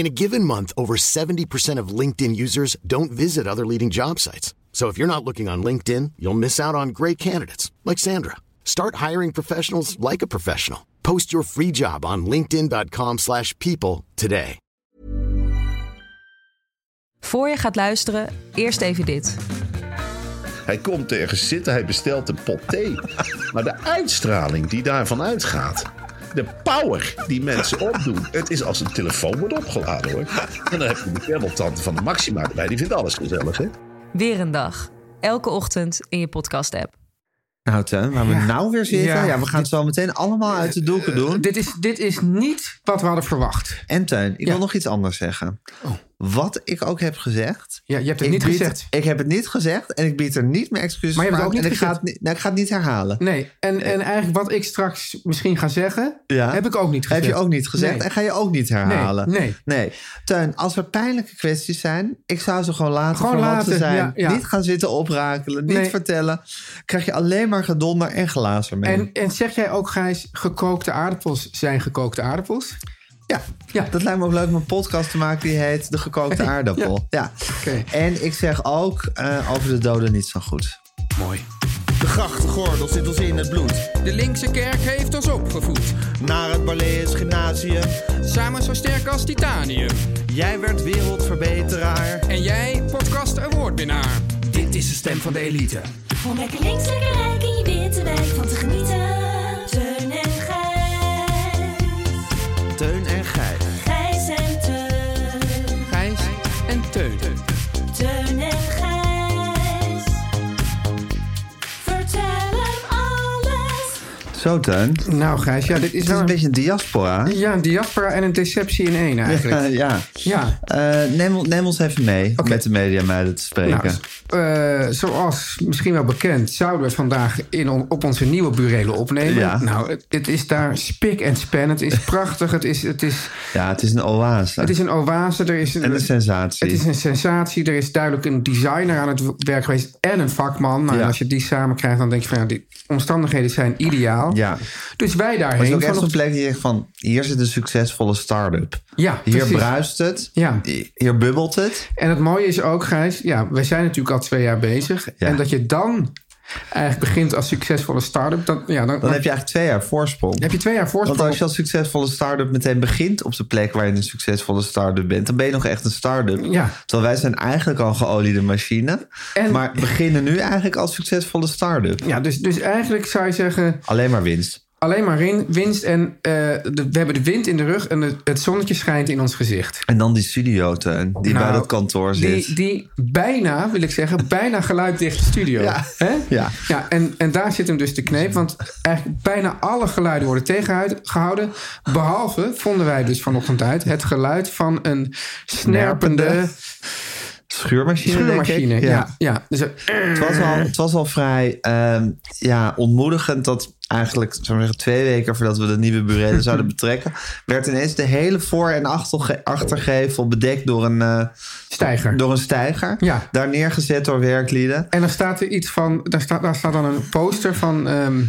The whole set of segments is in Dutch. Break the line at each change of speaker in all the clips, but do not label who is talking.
In a given month, over 70% of LinkedIn users don't visit other leading job sites. So if you're not looking on LinkedIn, you'll miss out on great candidates like Sandra. Start hiring professionals like a professional. Post your free job on linkedin.com/people slash people today.
Voor je gaat luisteren, eerst even dit.
Hij komt ergens zitten, hij bestelt een pot thee. Maar de uitstraling die daarvan uitgaat. De power die mensen opdoen. Het is als een telefoon wordt opgeladen hoor. En dan heb je de kermeltante van de Maxima erbij. Die vindt alles gezellig hè.
Weer een dag. Elke ochtend in je podcast-app.
Nou, Teun, waar we nou weer zitten. Ja.
Ja. Eh,
we gaan het zo meteen allemaal uit de doeken doen.
Dit is, dit is niet wat we hadden verwacht.
En Teun, ik wil
Ja. Oh.
nog iets anders zeggen. Wat ik ook heb gezegd.
Ja, je hebt het
ik
niet
bied-
gezegd.
Ik heb het niet gezegd en ik bied er niet mijn excuses
Maar je hebt
voor
het ook
aan.
niet
en ik ga, het,
gezegd.
niet- nou, ik ga het niet herhalen.
Nee, en, en eigenlijk wat ik straks misschien ga zeggen,
Ja.
heb ik ook niet gezegd.
Heb je ook niet gezegd
Nee.
en ga je ook niet herhalen.
Nee, nee.
Teun, als er pijnlijke kwesties zijn, ik zou ze gewoon laten
Gewoon
voor wat
laten,
ze zijn.
ja, ja.
Niet gaan zitten oprakelen, niet
Nee.
vertellen. Krijg je alleen maar gedonder en glazen mee.
En, en zeg jij ook, Gijs, gekookte aardappels zijn gekookte aardappels?
Ja.
Ja.
dat lijkt me ook leuk om een podcast te maken die heet De Gekookte Aardappel. Ja.
Oké.
En ik zeg ook eh, over de doden niet zo goed.
De grachtengordel zit ons in het bloed.
De linkse kerk heeft ons opgevoed.
Naar het Balees Gymnasium.
Samen zo sterk als titanium.
Jij werd wereldverbeteraar.
En jij, podcast awardwinnaar. Dit is de stem van de elite.
Om lekker links, lekker rijk in je witte wijk van te genieten. Teun en Gijs.
Teun en Gijs.
Gijs en Teun.
Gijs en Teun.
Teun en Gijs. Vertel hem alles.
Zo, Teun. Het
Nou, Gijs, ja, dit is
is
wel
een beetje een diaspora.
Ja, een diaspora en een deceptie in één eigenlijk.
Eh, ja.
Ja.
Eh, neem, on- neem ons even mee om met de media meiden te spreken.
Nou, eh, zoals misschien wel bekend, zouden we het vandaag in on- op onze nieuwe burelen opnemen.
Ja.
Nou, het, het is daar spik en span. Het is prachtig. het, is, het, is,
ja, het is een oase.
het is een oase. Er is een,
en een sensatie.
Het is een sensatie. Er is duidelijk een designer aan het werk geweest en een vakman. Nou,
Ja.
en Als je die samen krijgt, dan denk je van ja, die omstandigheden zijn ideaal.
Ja.
Dus wij
Het is
daarheen.
ook echt
vanochtend-
een plek die je zegt van... hier zit een succesvolle start-up.
Ja,
hier
precies.
bruist het.
Ja.
Hier bubbelt het.
En het mooie is ook, Gijs, ja, wij zijn natuurlijk al twee jaar bezig.
Ja.
En dat je dan eigenlijk begint als succesvolle start-up, dan, ja, dan,
Dan heb je eigenlijk twee jaar voorsprong.
heb je twee jaar voorsprong.
Want als je als succesvolle start-up meteen begint op de plek waar je een succesvolle start-up bent, dan ben je nog echt een start-up.
Ja.
Terwijl wij zijn eigenlijk al een geoliede machine,
En-
maar beginnen nu eigenlijk als succesvolle start-up.
Ja, dus, dus eigenlijk zou je zeggen,
Alleen maar winst.
alleen maar win- winst en eh, de- we hebben de wind in de rug en het, het zonnetje schijnt in ons gezicht.
En dan die studio, Teun, die
Nou,
bij dat kantoor zit.
Die, die bijna, wil ik zeggen, bijna geluiddichte studio.
Ja.
Hè?
Ja.
ja en, en daar zit hem dus de kneep. Want eigenlijk bijna alle geluiden worden tegengehouden. Behalve, vonden wij dus vanochtend uit, het geluid van een snerpende
Snerpende Schuurmachine,
schuurmachine.
denk ik.
Ja. Ja, Dus, eh,
Het, was al, het was al vrij ehm, ja, ontmoedigend dat eigenlijk zou ik maar zeggen, twee weken voordat we de nieuwe burelen zouden betrekken, werd ineens de hele voor- en achterge- achtergevel bedekt door een... eh,
stijger.
Door een stijger.
Ja.
Daar neergezet door werklieden.
En dan staat er iets van, daar staat, daar staat dan een poster van ehm,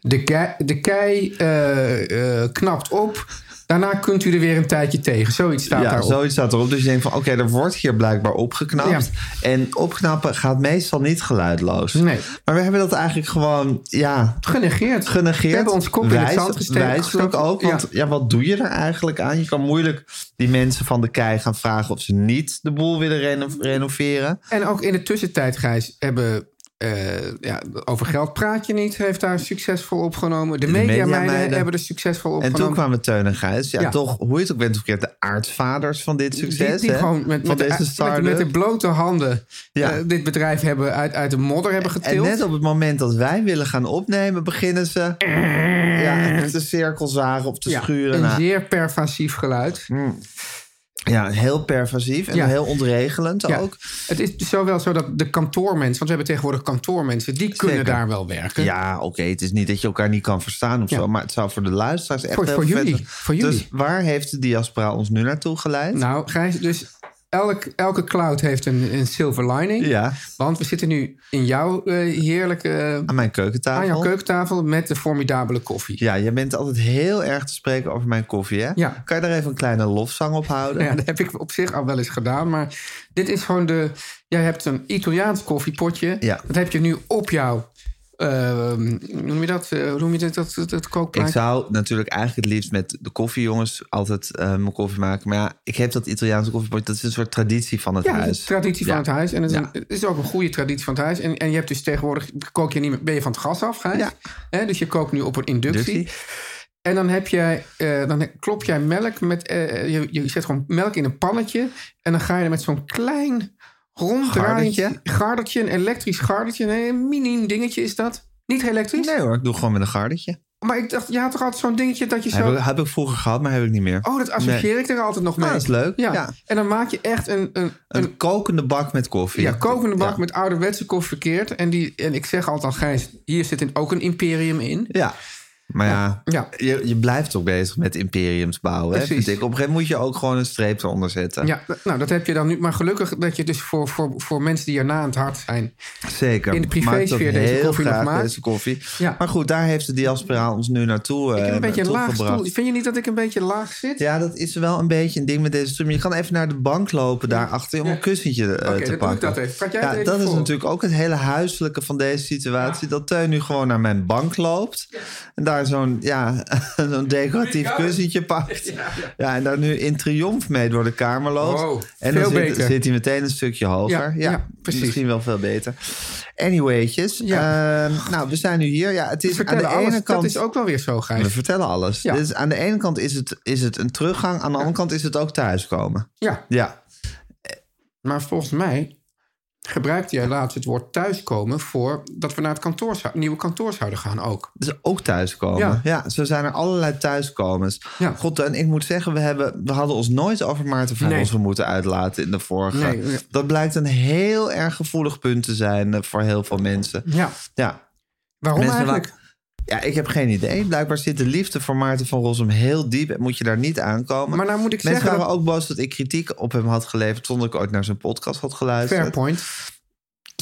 de, kei, de kei eh, eh, knapt op. Daarna kunt u er weer een tijdje tegen. Zoiets staat
ja,
daarop.
zoiets staat erop. Dus je denkt van, oké, er wordt hier blijkbaar opgeknapt. En opknappen gaat meestal niet geluidloos.
Nee.
Maar we hebben dat eigenlijk gewoon, ja,
Genegeerd.
genegeerd.
We hebben ons kop in het
Wijs-
zand gesteken.
Wijselijk ook, want ja.
Ja.
wat doe je er eigenlijk aan? Je kan moeilijk die mensen van de kei gaan vragen... of ze niet de boel willen reno- renoveren.
En ook in de tussentijd, Gijs, hebben eh, ja, over geld praat je niet, heeft daar succesvol opgenomen. De, media
mediameiden.
mediameiden hebben er succesvol
En
opgenomen.
toen kwamen Teun en Gijs. Ja,
Ja.
toch, hoe je het ook bent of verkeerd, de aardvaders van dit succes.
die, die
hè?
gewoon met,
van
met, de,
deze
met,
start
met de blote handen
Ja.
eh, dit bedrijf hebben uit, uit de modder hebben
En
getild.
net op het moment dat wij willen gaan opnemen, beginnen ze ja, met de cirkelzagen op te
Eh. Ja,
schuren.
een
Nou,
zeer pervasief geluid.
ja, heel pervasief en
Ja.
heel ontregelend
Ja.
ook.
Het is dus zowel zo dat de kantoormensen, want we hebben tegenwoordig kantoormensen, die kunnen
Zeker.
daar wel werken.
Ja, oké, het is niet dat je elkaar niet kan verstaan of
Ja.
zo, maar het zou voor de luisteraars echt
Voor-
heel
voor
vet
jullie,
zijn.
voor jullie.
Dus waar heeft de diaspora ons nu naartoe geleid?
Nou, Gijs, dus elk, elke cloud heeft een, een silver lining.
Ja.
Want we zitten nu in jouw eh, heerlijke... eh,
Aan mijn keukentafel.
aan jouw keukentafel met de formidabele koffie.
Ja, jij bent altijd heel erg te spreken over mijn koffie, hè?
Ja.
Kan je daar even een kleine lofzang op houden?
Ja, dat heb ik op zich al wel eens gedaan. Maar dit is gewoon de... Jij hebt een Italiaans koffiepotje.
Ja.
Dat heb je nu op jouw... eh, hoe noem je dat? eh, Hoe noem je dat, dat, dat, dat kookplaatje?
Ik zou natuurlijk eigenlijk het liefst met de koffiejongens altijd eh, mijn koffie maken. Maar ja, ik heb dat Italiaanse koffiepotje. Dat is een soort traditie van het
Ja, het
huis.
is een traditie van
Ja.
het huis. En het is,
Ja.
een- het is ook een goede traditie van het huis. En, en je hebt dus tegenwoordig, kook je niet meer, ben je van het gas af, Gijs?
Ja.
Hè, dus je kookt nu op een inductie.
Inductie.
En dan, heb jij, eh, dan he- klop jij melk met, eh, je, je zet gewoon melk in een pannetje. En dan ga je er met zo'n klein ronddraaiend
Gardertje?
gardertje, een elektrisch gardertje. Nee, een mini dingetje is dat. Niet elektrisch.
Nee hoor, ik doe gewoon met een gardetje.
Maar ik dacht, je had toch altijd zo'n dingetje dat je zo...
Heb ik, heb ik vroeger gehad, maar heb ik niet meer.
Oh, dat associeer
Nee.
ik er altijd nog
Ah,
mee.
dat is leuk.
Ja.
Ja.
En dan maak je echt een, een,
Een, kokende bak met koffie.
Ja, kokende bak
Ja.
met ouderwetse koffie verkeerd. En, die, en ik zeg altijd al, Gijs, hier zit in- ook een imperium in.
Ja. Maar ja,
Ja.
Je, je blijft ook bezig met imperiums bouwen. Hè,
Precies.
vind ik. Op een gegeven moment moet je ook gewoon een streep eronder zetten.
Ja, d- nou dat heb je dan nu. Maar gelukkig dat je dus voor, voor, voor mensen die erna aan het hart zijn.
Zeker.
In de
Maakt ook
privésfeer deze
heel
koffie nog
graag
maakt.
deze koffie.
Ja.
Maar goed, daar heeft de diaspora ons nu naartoe
Ik heb een beetje een laag
Eh, gebracht.
stoel. Vind je niet dat ik een beetje laag zit?
Ja, dat is wel een beetje een ding met deze stream. Je kan even naar de bank lopen daarachter om
Ja.
een kussentje eh,
Oké, dan doe
te
ik
pakken.
dat even. Pak jij
ja,
het even
dat is
voor?
natuurlijk ook het hele huiselijke van deze situatie. Dat Teun nu gewoon naar mijn bank loopt. En daar zo'n ja, zo'n decoratief kussentje pakt. Ja, en daar nu in triomf mee door de kamer loopt.
Wow,
en
veel
dan zit,
beter.
zit hij meteen een stukje hoger.
Ja,
Ja,
ja, precies.
Misschien wel veel beter. Anyway'tjes.
Ja.
ehm, nou, we zijn nu hier. Ja, het is aan de
Vertellen alles.
ene kant...
Dus Dat is ook wel weer zo,
We
Gijs.
vertellen alles.
Ja.
Dus aan de ene kant is het, is het een teruggang, aan de andere kant is het ook thuiskomen.
Ja,
Ja.
maar volgens mij gebruikte jij laatst het woord thuiskomen... voor dat we naar het kantoor, zou- nieuwe kantoor zouden gaan ook.
Dus ook thuiskomen.
Ja.
Ja. zo zijn er allerlei thuiskomens.
Ja.
God, en ik moet zeggen, we, hebben, we hadden ons nooit over Maarten van
Nee.
ons moeten uitlaten in de vorige.
Nee, nee.
Dat blijkt een heel erg gevoelig punt te zijn eh, voor heel veel mensen.
Ja,
Ja,
waarom
Mensen
eigenlijk?
ja ik heb geen idee. Blijkbaar zit de liefde voor Maarten van Rossum heel diep en moet je daar niet aankomen.
Maar nou moet ik
Mensen
zeggen
waren ook boos dat ik kritiek op hem had geleverd zonder dat ik ooit naar zijn podcast had geluisterd.
Fair point.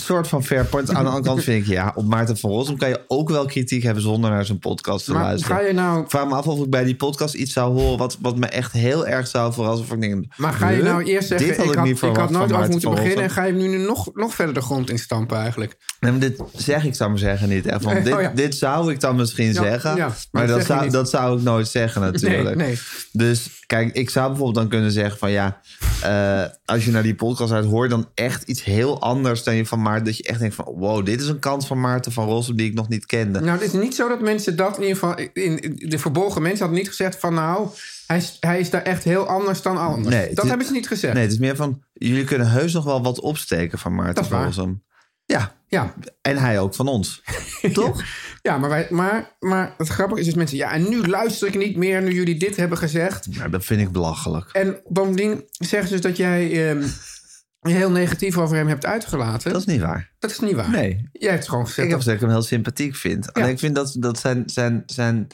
soort van fair point. Aan de andere kant vind ik, ja, op Maarten van Rossum kan je ook wel kritiek hebben zonder naar zijn podcast te
Maar
luisteren.
ga je nou
Ik vraag me af of ik bij die podcast iets zou horen wat, wat me echt heel erg zou verrassen. Of ik denk,
Maar ga je nou
huh?
eerst zeggen,
dit had ik,
ik had,
niet
ik had,
verwacht van
nooit over
Maarten
moeten
van
beginnen... en
Rossum.
ga je hem nu nog, nog verder de grond in stampen eigenlijk.
Nee, maar dit zeg ik dan maar zeggen niet. Echt, want
Nee,
dit,
oh ja.
dit zou ik dan misschien
Ja,
zeggen.
ja,
maar
dat
dat
zeg je
zou,
niet.
dat zou ik nooit zeggen natuurlijk.
Nee, nee.
Dus kijk, ik zou bijvoorbeeld dan kunnen zeggen van ja... eh, als je naar die podcast uit hoort, dan echt iets heel anders dan je van Maarten. Dat je echt denkt van wow, dit is een kant van Maarten van Rossum die ik nog niet kende.
Nou, het is niet zo dat mensen dat in ieder geval... In, in- de verborgen mensen hadden niet gezegd van... nou, hij is, hij is daar echt heel anders dan anders.
Nee, het
dat
is-
hebben ze niet gezegd.
Nee, het is meer van jullie kunnen heus nog wel wat opsteken van Maarten
Dat is
van
waar.
Rossum. Ja,
Ja,
en hij ook van ons. Toch?
ja maar, wij, maar, maar het grappige is dus mensen... ja, en nu luister ik niet meer nu jullie dit hebben gezegd.
Nou, dat vind ik belachelijk.
En bovendien zeggen ze dus dat jij... ehm, je heel negatief over hem hebt uitgelaten.
Dat is niet waar.
Dat is niet waar.
Nee.
Jij hebt gewoon
Ik
gezegd...
heb
dat-
gezegd dat ik hem heel sympathiek vind. Alleen ik vind dat, dat zijn, zijn, zijn,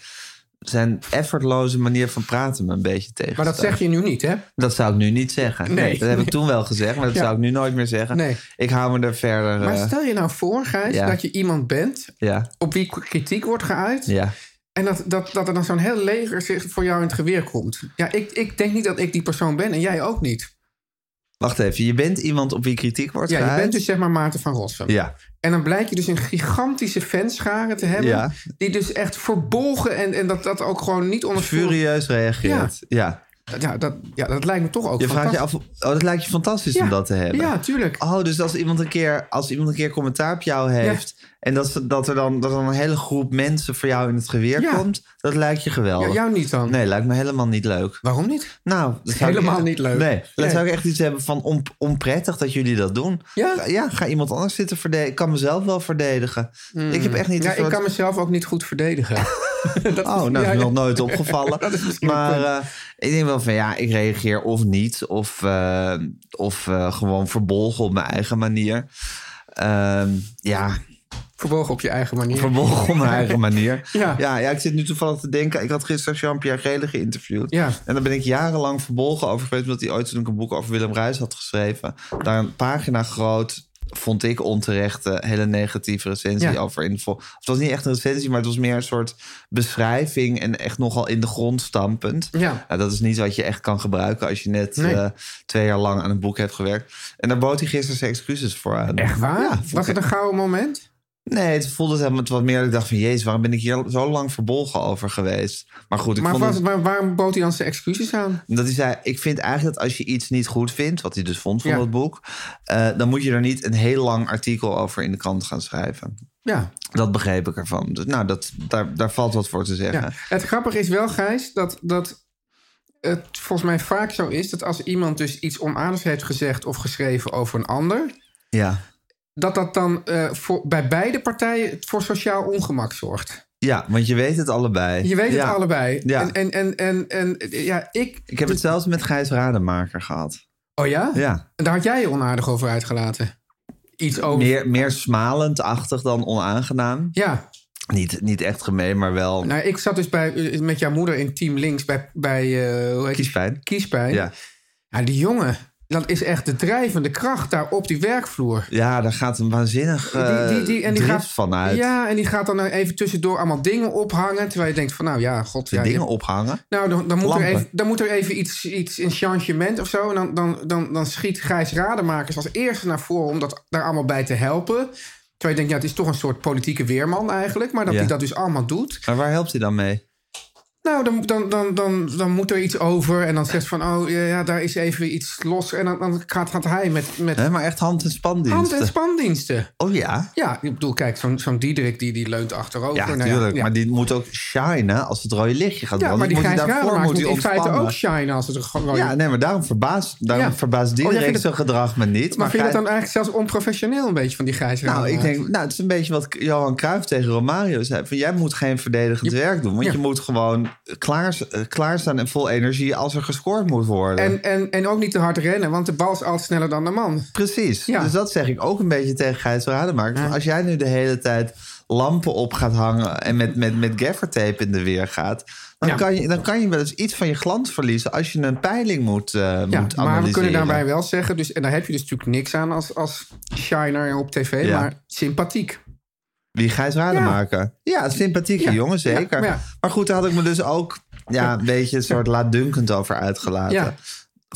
zijn effortloze manier van praten me een beetje tegen.
maar dat zeg je nu niet, hè?
Dat zou ik nu niet zeggen.
Nee.
Nee. dat heb ik toen wel gezegd, maar dat
Ja.
zou ik nu nooit meer zeggen.
Nee.
Ik hou me er verder...
Maar
eh,
stel je nou voor, Gijs,
ja.
dat je iemand bent
ja,
op wie kritiek wordt geuit.
ja.
En dat, dat, dat er dan zo'n heel leger zich voor jou in het geweer komt. Ja, ik, ik denk niet dat ik die persoon ben en jij ook niet.
Wacht even, je bent iemand op wie kritiek wordt
Ja, je
geuit?
bent dus zeg maar Maarten van Rossum.
Ja,
En dan blijkt je dus een gigantische fanschare te hebben.
Ja.
Die dus echt verbolgen en, en dat dat ook gewoon niet onder...
furieus reageert. Ja.
ja, dat, ja, dat lijkt me toch ook
Je vraagt je af, oh, dat lijkt je fantastisch om
Ja,
dat te hebben.
ja, tuurlijk.
Oh, dus als iemand een keer, als iemand een keer commentaar op jou heeft... en dat, ze- dat er dan, dat er dan een hele groep mensen voor jou in het geweer
Ja.
komt... dat lijkt je geweldig.
Ja, jou niet dan?
Nee, lijkt me helemaal niet leuk.
Waarom niet?
Nou, dat zou ik-
Helemaal niet leuk.
Nee, dat
Nee.
zou ik echt iets hebben van on- onprettig dat jullie dat doen.
Ja?
Ga- Ja, ga iemand anders zitten verdedigen. Ik kan mezelf wel verdedigen.
Mm.
Ik heb echt niet...
Ja,
een soort-
ik kan mezelf ook niet goed verdedigen. dat
Oh, nou,
ja,
is me
ja.
nog nooit opgevallen.
Dat is misschien
maar
een punt.
eh, ik denk wel van ja, ik reageer of niet, of, eh, of eh, gewoon verbolgen op mijn eigen manier. Ehm, ja,
Verbogen op je eigen manier.
verbolgen op mijn eigen manier.
Ja.
Ja, ja, ik zit nu toevallig te denken. Ik had gisteren Jean-Pierre Gele geïnterviewd.
Ja.
En daar ben ik jarenlang verbolgen over geweest. Omdat hij ooit toen ik een boek over Willem Ruijs had geschreven. Daar een pagina groot, vond ik onterecht, eh, hele negatieve recensie
Ja.
over. In de vol- het was niet echt een recensie, maar het was meer een soort beschrijving. En echt nogal in de grond stampend.
Ja.
Nou, dat is niet wat je echt kan gebruiken als je net
Nee.
eh, twee jaar lang aan een boek hebt gewerkt. En daar bood hij gisteren zijn excuses voor aan.
Echt waar?
Ja, vond
Was
ik
het een gouden moment?
Nee, het voelde helemaal het wat meer. Ik dacht van, jezus, waarom ben ik hier zo lang verbolgen over geweest? Maar goed, ik
Maar
vond
was-
het-
waar- waarom bood hij dan zijn excuses aan?
dat hij zei, ik vind eigenlijk dat als je iets niet goed vindt, wat hij dus vond van
Ja.
dat boek, eh, dan moet je er niet een heel lang artikel over in de krant gaan schrijven.
Ja.
Dat begreep ik ervan. Dus, nou, dat, daar, daar valt wat voor te zeggen.
Ja. Het grappige is wel, Gijs, dat, dat het volgens mij vaak zo is... dat als iemand dus iets onaardigs heeft gezegd of geschreven over een ander...
Ja,
dat dat dan eh, voor, bij beide partijen voor sociaal ongemak zorgt.
ja want je weet het allebei.
Je weet
Ja.
het allebei.
Ja.
En, en, en, en, en eh, ja, ik...
Ik heb het zelfs met Gijs Rademaker gehad.
Oh ja?
Ja,
Daar had jij je onaardig over uitgelaten. Iets over...
meer, meer smalend-achtig dan onaangenaam.
Ja,
Niet, niet echt gemeen, maar wel
nou, ik zat dus bij, eh, met jouw moeder in Team Links bij, bij eh, hoe heet het?
kiespijn.
Kiespijn.
Ja.
Ja, die jongen, dat is echt de drijvende kracht daar op die werkvloer.
Ja, daar gaat een waanzinnig eh drift van uit.
Ja, en die gaat dan even tussendoor allemaal dingen ophangen. Terwijl je denkt van, nou ja, god.
De
Ja,
dingen
je-
ophangen.
Nou, dan, dan, moet er
Lampen.
even, dan moet er even iets, iets in changement of zo. En dan, dan, dan, dan schiet Gijs Rademakers als eerste naar voren om dat daar allemaal bij te helpen. Terwijl je denkt, ja, het is toch een soort politieke weerman eigenlijk. Maar dat
Ja.
hij dat dus allemaal doet.
Maar waar helpt hij dan mee?
Nou, dan, dan, dan, dan, dan moet er iets over. En dan zegt van, oh ja, ja, daar is even iets los. En dan, dan gaat, gaat hij met, met
Hè, maar echt hand- en spandiensten.
hand- en spandiensten.
oh ja.
Ja, ik bedoel, kijk, zo'n zo'n Diederik die, die leunt achterover.
Ja,
Nou
natuurlijk.
ja.
Maar die moet ook shinen als het rode lichtje gaat
Ja,
branden.
maar die
moet hij
Gijs
daarvoor
Rademaker
moet
moet
hij
in feite
ontspannen.
ook shine als het er gewoon...
Ja, nee, maar daarom verbaast, daarom
Ja.
verbaast
Oh, jij
Diederik
vindt het-
zijn gedrag me niet.
maar vind je dat
Gijs-
dan eigenlijk zelfs onprofessioneel een beetje van die Gijs
Nou, ik
Rademaker?
denk, nou, het is een beetje wat Johan Cruijff tegen Romario zei. Van, jij moet geen verdedigend werk doen. Want
ja.
je moet gewoon klaar, eh, klaarstaan en vol energie als er gescoord moet worden.
En, en, en ook niet te hard rennen, want de bal is altijd sneller dan de man.
Precies.
Ja.
Dus dat zeg ik ook een beetje tegen Gijs Rademaker. Als jij nu de hele tijd lampen op gaat hangen en met, met, met gaffertape in de weer gaat... Dan,
Ja.
kan je, dan kan je wel eens iets van je glans verliezen als je een peiling moet, eh moet
Ja,
analyseren.
maar we kunnen daarbij wel zeggen, dus, en daar heb je dus natuurlijk niks aan als, als shiner op tv,
Ja.
maar sympathiek.
Wie Gijs Rademaker? Ja, sympathieke
Ja.
jongen,
Ja,
zeker.
maar ja.
Maar goed, daar had ik me dus ook ja, een beetje een soort laatdunkend over uitgelaten.
Ja.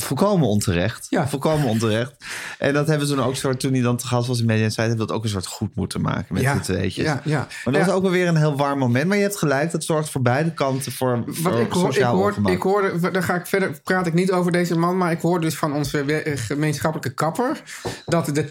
Volkomen onterecht.
Ja.
Volkomen onterecht. En dat hebben ze toen ook soort, toen hij dan te gast was in Media Insight, hebben we dat ook een soort goed moeten maken met
Ja.
z'n tweetjes.
Ja, ja.
Maar dat
Ja.
was ook wel weer een heel warm moment. Maar je hebt gelijk, dat zorgt voor beide kanten voor, voor
Wat ik, hoor, ik,
sociaal
hoor,
ongemak.
ik hoorde, daar ga ik verder, praat ik niet over deze man, maar ik hoor dus van onze we- eh, gemeenschappelijke kapper dat de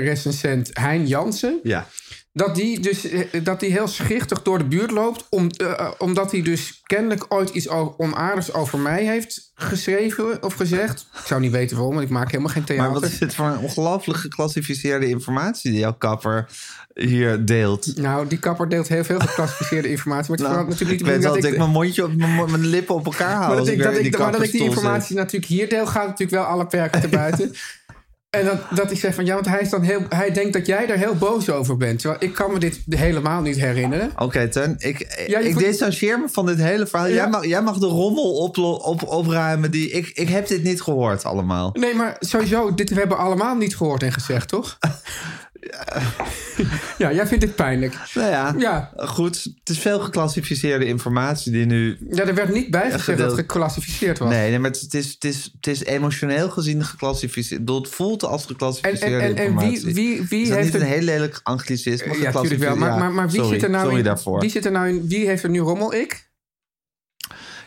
theaterrecensent Hein Jansen,
Ja.
dat die dus eh, dat die heel schichtig door de buurt loopt, om, eh, eh, omdat hij dus kennelijk ooit iets o- onaardigs over mij heeft geschreven of gezegd. Ik zou niet weten waarom, want ik maak helemaal geen theater.
Maar wat is dit voor een ongelooflijk geclassificeerde informatie die jouw kapper hier deelt?
Nou, die kapper deelt heel veel geclassificeerde informatie, maar het
Nou,
verandert natuurlijk
ik
niet de
weet wel
bedoeling
dat ik mijn mondje op mijn, mo- mijn lippen op elkaar hou. als
Maar Oh, dat ik,
weer
dat
in
ik, maar dat ik die
kappersstoel zit.
informatie natuurlijk hier deel, gaat natuurlijk wel alle perken te buiten. En dat, dat ik zeg van ja, want hij, is dan heel, hij denkt dat jij daar heel boos over bent. Terwijl ik kan me dit helemaal niet herinneren.
Oké, Teun, ik,
Ja, je
ik
voelt-
distancieer me van dit hele verhaal. Jij,
Ja.
mag, jij mag de rommel oplo- op, opruimen. Die, ik, ik heb dit niet gehoord allemaal.
Nee, maar sowieso, dit hebben we allemaal niet gehoord en gezegd, toch? Ja, jij vindt dit pijnlijk.
Nou ja,
Ja.
goed. Het is veel geclassificeerde informatie die nu...
Ja, er werd niet bij gezegd dat
gedeeld.
het geclassificeerd was.
Nee, nee maar het is, het, is, het is emotioneel gezien geclassificeerd. Ik bedoel, Het voelt als
en,
geclassificeerde
en, en, en wie,
informatie.
wie, wie
is dat
heeft
niet een
het-
heel lelijk anglicisme?
Ja, natuurlijk wel.
Geclassificeerd-
Maar, maar, maar nou wie
sorry,
zit er nou
sorry
in?
daarvoor.
Wie zit er nou in? Wie heeft er nu rommel? Ik?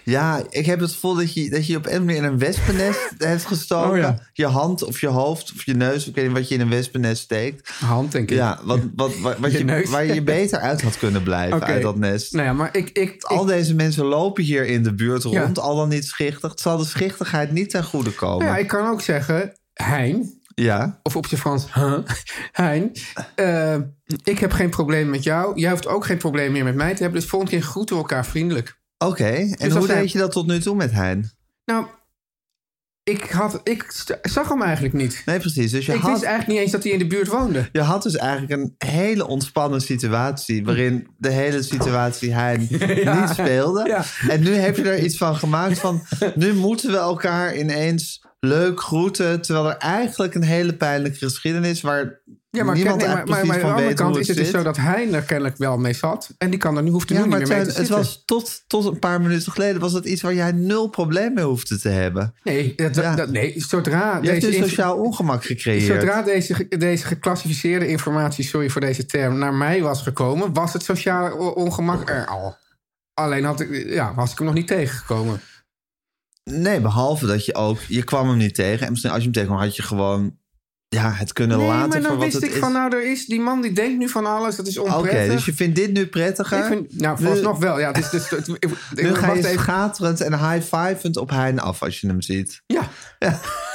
Ja, ik heb het gevoel dat je, dat je op een manier in een wespennest hebt gestoken.
Oh ja.
Je hand of je hoofd of je neus, ik weet niet wat je in een wespennest steekt.
Hand, denk ik.
Ja, wat, wat, wat, wat
Je
je
neus.
waar je beter uit had kunnen blijven
Oké.
uit dat nest.
Nou ja, maar ik... ik,
Al deze mensen lopen hier in de buurt
Ja.
rond, al dan niet schichtig. Het zal de schichtigheid niet ten goede komen.
Nou ja, ik kan ook zeggen, Hein,
Ja.
of op zijn Frans, huh? Hein, eh, ik heb geen probleem met jou. Jij hoeft ook geen probleem meer met mij te hebben. Dus volgende keer groeten we elkaar vriendelijk.
Oké, en
Dus
hoe
als hij-
deed je dat tot nu toe met Hein?
Nou, ik, had, ik st- zag hem eigenlijk niet.
Nee, precies. Dus je,
ik
had,
wist eigenlijk niet eens dat hij in de buurt woonde.
je had dus eigenlijk een hele ontspannen situatie... waarin de hele situatie Hein
Ja.
niet speelde.
Ja.
En nu heb je er iets van gemaakt van... nu moeten we elkaar ineens leuk groeten... terwijl er eigenlijk een hele pijnlijke geschiedenis... is waar
Ja, maar,
niemand
kijk, nee, maar,
eigenlijk
maar,
precies
maar aan de
van
andere
weet
kant
hoe
is
het
het dus
zit.
zo dat hij er kennelijk wel mee zat. En die kan er nu, hoeft er
Ja,
nu niet
maar
meer mee
Tuin,
te
het
zitten.
was tot, tot een paar minuten geleden... was dat iets waar jij nul probleem mee hoefde te hebben.
Nee, dat,
Ja.
dat, nee zodra,
Je hebt
deze
een
inf-
sociaal ongemak gecreëerd.
dus zodra deze, ge- deze geclassificeerde informatie, sorry voor deze term, naar mij was gekomen, was het sociale o- ongemak er al. Alleen had ik, ja, was ik hem nog niet tegengekomen.
Nee, behalve dat je ook... Je kwam hem niet tegen. En misschien als je hem tegenkwam had je gewoon... Ja, het kunnen
nee,
laten
maar
voor
dan
wat
wist
het
ik
is.
van, nou, er is die man die denkt nu van alles, dat is
Oké,
onprettig.
dus je vindt dit nu prettiger?
ik vind, nou, vooralsnog wel. Ja, het is, dus, het- ik- ik-
Nu ga
wacht
je
even.
schaterend en high-fivend op Hein af als je hem ziet.
Ja.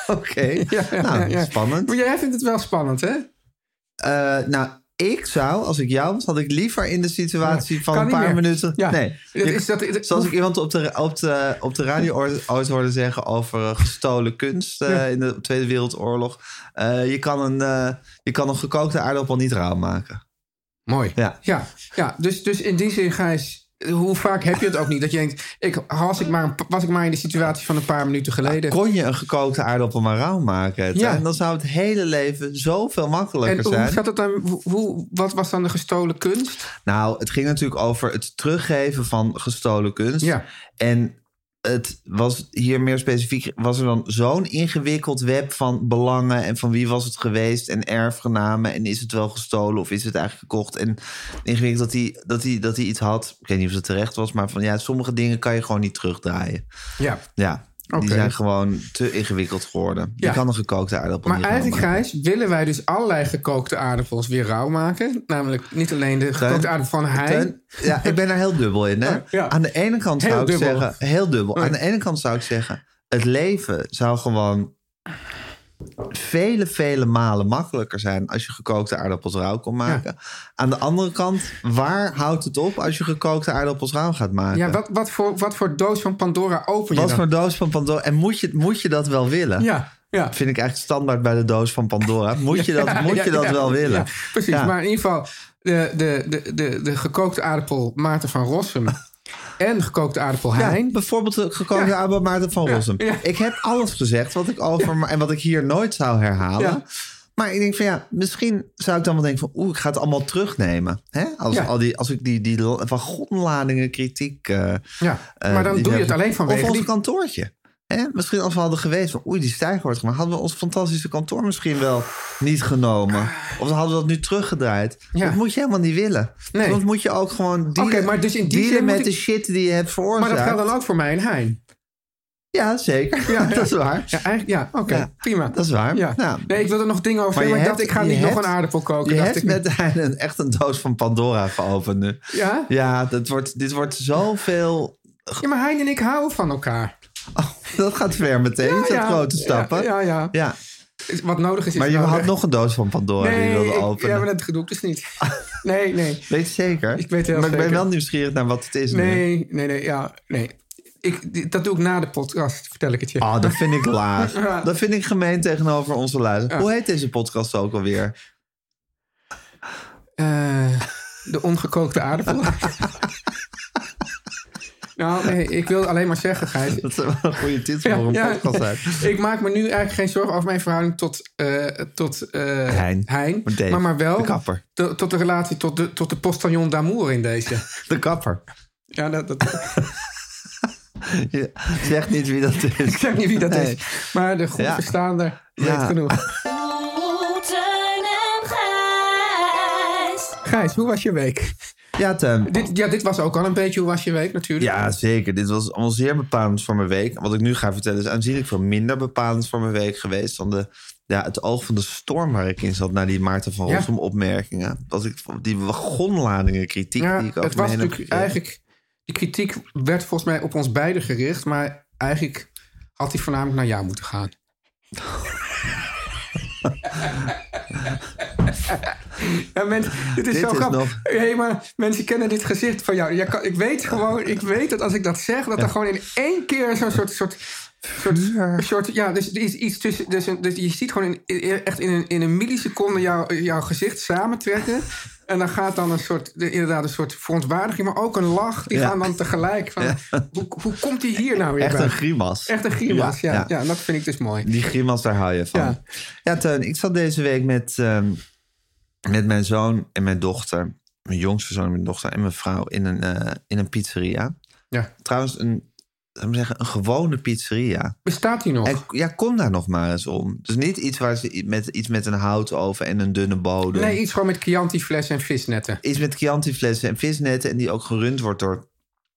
Oké,
ja,
nou,
ja, ja.
spannend.
Maar jij vindt het wel spannend, hè?
Eh, nou, ik zou, als ik jou was, had ik liever in de situatie van
kan
een
niet
paar
meer.
minuten...
Ja.
Nee,
Dat
Je-
is, dat, dat-
zoals ik iemand op de, op de, op de radio ooit- ooit hoorde zeggen over eh, gestolen kunst eh,
Ja.
in de Tweede Wereldoorlog. Eh, je, kan een, eh, je kan een gekookte aardappel niet rauw maken.
Mooi.
Ja.
Ja, ja dus, dus in die zin, Gijs, hoe vaak heb je het ook niet? Dat je denkt, ik, was, ik maar een, was ik maar in de situatie van een paar minuten geleden.
Kon je een gekookte aardappel maar rauw maken?
Ja.
En dan zou het hele leven zoveel makkelijker
en
zijn.
hoe zat het dan? hoe- Hoe, wat was dan de gestolen kunst?
Nou, het ging natuurlijk over het teruggeven van gestolen kunst.
Ja.
En het was hier meer specifiek, was er dan zo'n ingewikkeld web van belangen en van wie was het geweest en erfgenamen en is het wel gestolen of is het eigenlijk gekocht? En ingewikkeld dat hij, dat hij, dat hij iets had, ik weet niet of het terecht was, maar van ja, sommige dingen kan je gewoon niet terugdraaien.
Ja.
Ja.
Oké.
Die zijn gewoon te ingewikkeld geworden.
Ja.
Je kan een gekookte aardappel
Maar
niet rauw
eigenlijk,
maken.
Gijs, willen wij dus allerlei gekookte aardappels weer rauw maken. Namelijk niet alleen de
Teun,
gekookte aardappel van Hein.
Teun, ja, ik ben er heel dubbel in. Hè?
ja.
Aan de ene kant zou
Heel
ik
dubbel.
zeggen, heel dubbel. Aan de ene kant zou ik zeggen, het leven zou gewoon vele, vele malen makkelijker zijn als je gekookte aardappels rauw kon maken. Aan de andere kant, waar houdt het op als je gekookte aardappels rauw gaat maken?
Ja, wat, wat, voor, wat voor doos van Pandora open je
Wat
dan?
voor doos van Pandora? En moet je, moet je dat wel willen?
Ja, ja.
Vind ik eigenlijk standaard bij de doos van Pandora. Moet je dat,
Ja,
moet
ja,
je dat
ja,
wel
ja,
willen?
precies,
Ja.
maar in ieder geval de, de, de, de, de gekookte aardappel Maarten van Rossum en gekookte aardappel
Ja,
Hein.
bijvoorbeeld de gekookte
Ja.
aardappel Maarten van Rossum.
ja.
Ik heb alles gezegd wat ik over en wat ik hier nooit zou herhalen.
Ja.
Maar ik denk van ja, misschien zou ik dan wel denken van oeh, ik ga het allemaal terugnemen. Hè? Als,
Ja.
al die, als ik die, die wagonladingen kritiek... eh,
Ja,
eh,
maar dan
die
doe je
heb-
het alleen vanwege
Of ons
die-
kantoortje. Hè? Misschien als we hadden geweest van oei, die stijger wordt gemaakt. Hadden we ons fantastische kantoor misschien wel niet genomen. Of hadden we dat nu teruggedraaid.
Ja.
Dat moet je helemaal niet willen.
Nee.
Dat moet je ook gewoon dealen,
maar dus in die
dealen
zin moet
met
ik-
de shit die je hebt
maar
veroorzaakt.
dat geldt dan ook voor mij en Hein.
Ja, zeker.
Ja,
dat is waar.
Ja, eigenlijk, ja oké,
Ja,
prima.
dat is waar.
Ja.
Nou,
nee, ik wilde er nog dingen over zeggen, maar ik dacht, ik ga
je
niet nog
hebt-
een aardappel koken.
Je
dacht
hebt
ik.
met Hein een, echt een doos van Pandora geopend nu.
Ja?
Ja, dat wordt, dit wordt zoveel...
ja, maar Hein en ik houden van elkaar.
Oh, dat gaat ver meteen, dat
ja,
grote
ja,
stappen.
Ja, ja,
Ja,
Wat nodig is, is
maar je
nodig.
had nog een doos van Pandora die je
Nee,
wilde
ik,
openen.
ja, maar dat gedoe ik dus niet. Nee, nee.
Weet je zeker?
Ik weet heel
maar ik ben
zeker.
wel nieuwsgierig naar wat het is nu.
Nee, nee, nee, ja, nee. Ik, die- dat doe ik na de podcast, vertel ik het je.
Ah, dat vind ik laag.
Ja.
Dat vind ik gemeen tegenover onze luisteraars.
Ja.
Hoe heet deze podcast ook alweer?
Eh, de ongekookte aardappel. nou, nee, ik wil alleen maar zeggen, Gijs.
Dat zou wel een goede titel voor een
Ja,
podcast zijn.
ik maak me nu eigenlijk geen zorgen over mijn verhouding tot, eh, tot eh,
Hein. Met Dave,
maar, maar wel
de kapper.
to- tot de relatie tot de, tot de postillon d'amour in deze.
De kapper.
Ja, dat, dat,
Je zegt niet wie dat
ik
is.
zeg niet wie dat
Nee.
is. Maar de goed
Ja.
verstaande weet
Ja.
genoeg.
Teun en Gijs.
Gijs, hoe was je week?
Ja, Tim.
Dit, ja, dit was ook al een beetje hoe was je week natuurlijk.
Ja, zeker. Dit was allemaal zeer bepalend voor mijn week. Wat ik nu ga vertellen is aanzienlijk veel minder bepalend voor mijn week geweest dan de, ja, het oog van de storm waar ik in zat na die Maarten van
Ja.
Rossum opmerkingen. Dat ik die wagonladingen kritiek
Ja,
die ik
het
over
was
me heen heb
natuurlijk
gekregen.
eigenlijk. De kritiek werd volgens mij op ons beiden gericht, maar eigenlijk had hij voornamelijk naar jou moeten gaan. ja, mensen, dit is
Dit
zo
is
grappig.
nog-
Hé, maar mensen kennen dit gezicht van jou. Jij kan, ik weet gewoon, ik weet dat als ik dat zeg, dat er gewoon in één keer zo'n soort. soort soort, soort, ja, dus er is iets tussen. Dus, een- dus je ziet gewoon in, echt in een, in een milliseconde jou, jouw gezicht samentrekken. En dan gaat dan een soort, de- inderdaad, een soort verontwaardiging, maar ook een lach. Die
Ja.
gaan dan tegelijk. Van, hoe, hoe komt die hier nou weer
Echt
bij?
een grimas.
Echt een grimas, ja. ja.
Ja.
en dat vind ik dus mooi.
Die grimas, daar hou je van. Ja, Teun, ik zat deze week met, ehm, met mijn zoon en mijn dochter. Mijn jongste zoon en mijn dochter en mijn vrouw in een, eh, in een pizzeria.
Ja.
Trouwens, een, laten we zeggen, een gewone pizzeria.
Bestaat die nog?
En, ja, kom daar nog maar eens om. Dus niet iets, waar ze, i- met, iets met een houtoven en een dunne bodem.
Nee, iets gewoon met Chianti flessen en visnetten.
Iets met Chianti-flessen en visnetten. En die ook gerund wordt door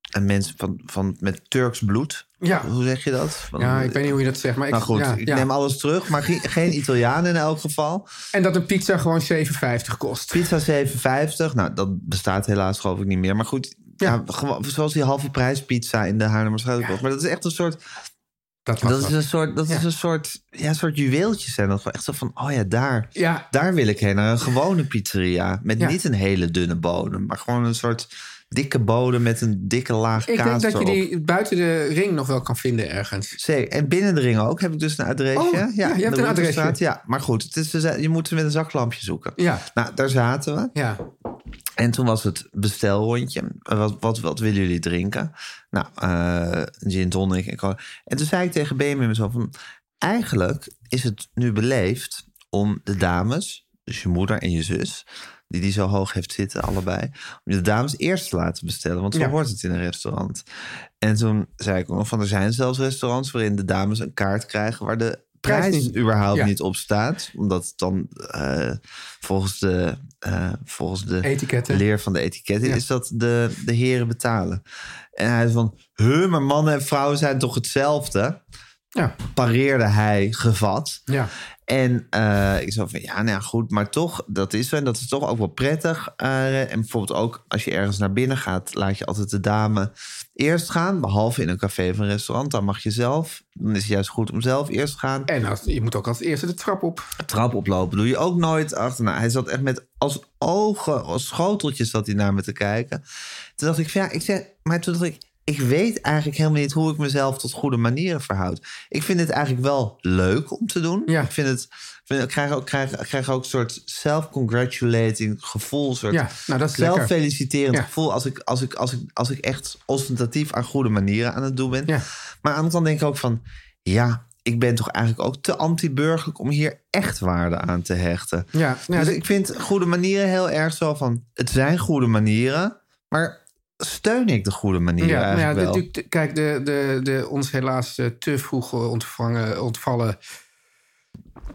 een mens van, van, met Turks bloed.
Ja.
Hoe zeg je dat? Van-
Ja, ik weet niet hoe je dat zegt, maar ik,
nou goed,
ja,
ik
ja.
neem alles terug. Maar ge- geen Italiaan in elk geval.
En dat een pizza gewoon 7,50 kost.
Pizza 7,50. Nou, dat bestaat helaas geloof ik niet meer. Maar goed, ja. gewoon, zoals die halve prijs pizza in de Haarlemmerstraat ook was. Maar dat is echt een soort...
Dat, was
dat is
wat.
een soort, dat is een soort, ja, een soort juweeltje zijn. Dat gewoon echt zo van, oh ja, daar,
Ja.
daar wil ik heen. Naar een gewone pizzeria. Met
Ja.
niet een hele dunne bodem. Maar gewoon een soort dikke bodem met een dikke laag
Ik denk
kaas
dat je
erop.
die buiten de ring nog wel kan vinden ergens.
Zeker. En binnen de ring ook heb ik dus een adresje.
Oh, ja, je
in
hebt
de
een adresje.
Roeterstraat. Ja, maar goed, het is, we zijn- je moet ze met een zaklampje zoeken.
Ja.
Nou, daar zaten we.
Ja.
En toen was het bestelrondje. Eh, Wat, wat, wat willen jullie drinken? Nou, eh gin tonic en cola. En toen zei ik tegen Benjamin mezelf van... Eigenlijk is het nu beleefd om de dames... dus je moeder en je zus... die die zo hoog heeft zitten, allebei... om de dames eerst te laten bestellen. Want zo
Ja.
hoort het in een restaurant. En toen zei ik ook nog van... er zijn zelfs restaurants waarin de dames een kaart krijgen... waar de
Prijs
prijs
niet-
überhaupt
Ja.
niet op staat. Omdat het dan eh, volgens de... eh, volgens de
Etiketten.
leer van de etiketten
Ja.
is dat de, de heren betalen. En hij is van, huh, maar mannen en vrouwen zijn toch hetzelfde?
Ja.
Pareerde hij gevat.
Ja.
En eh, ik zei van, ja, nou ja, goed, maar toch, dat is zo. En dat is toch ook wel prettig. eh, en bijvoorbeeld ook als je ergens naar binnen gaat, laat je altijd de dame eerst gaan. Behalve in een café of een restaurant, dan mag je zelf. Dan is het juist goed om zelf eerst te gaan.
En als, je moet ook als eerste de trap op.
trap oplopen doe je ook nooit achter. Nou, hij zat echt met als ogen, als schoteltjes zat hij naar me te kijken. Toen dacht ik, van, ja, ik zeg, maar toen dacht ik, ik weet eigenlijk helemaal niet hoe ik mezelf tot goede manieren verhoud. Ik vind het eigenlijk wel leuk om te doen.
Ja.
Ik vind het, ik vind- ik krijg ook, krijg, ik krijg ook een soort self-congratulating gevoel, een soort
Ja, nou, dat is lekker.
zelffeliciterend
Ja.
gevoel als ik, als, ik, als, ik, als ik echt ostentatief aan goede manieren aan het doen ben.
Ja.
Maar aan de andere kant denk ik ook van... ja, ik ben toch eigenlijk ook te anti-burgerlijk... om hier echt waarde aan te hechten.
Ja, nou,
dus
dit-
ik vind goede manieren heel erg zo van... het zijn goede manieren, maar steun ik de goede manieren
Ja, nou ja,
eigenlijk wel?
dit- dit- kijk, de, de, de ons helaas eh, te vroeg eh, ontvangen, ontvallen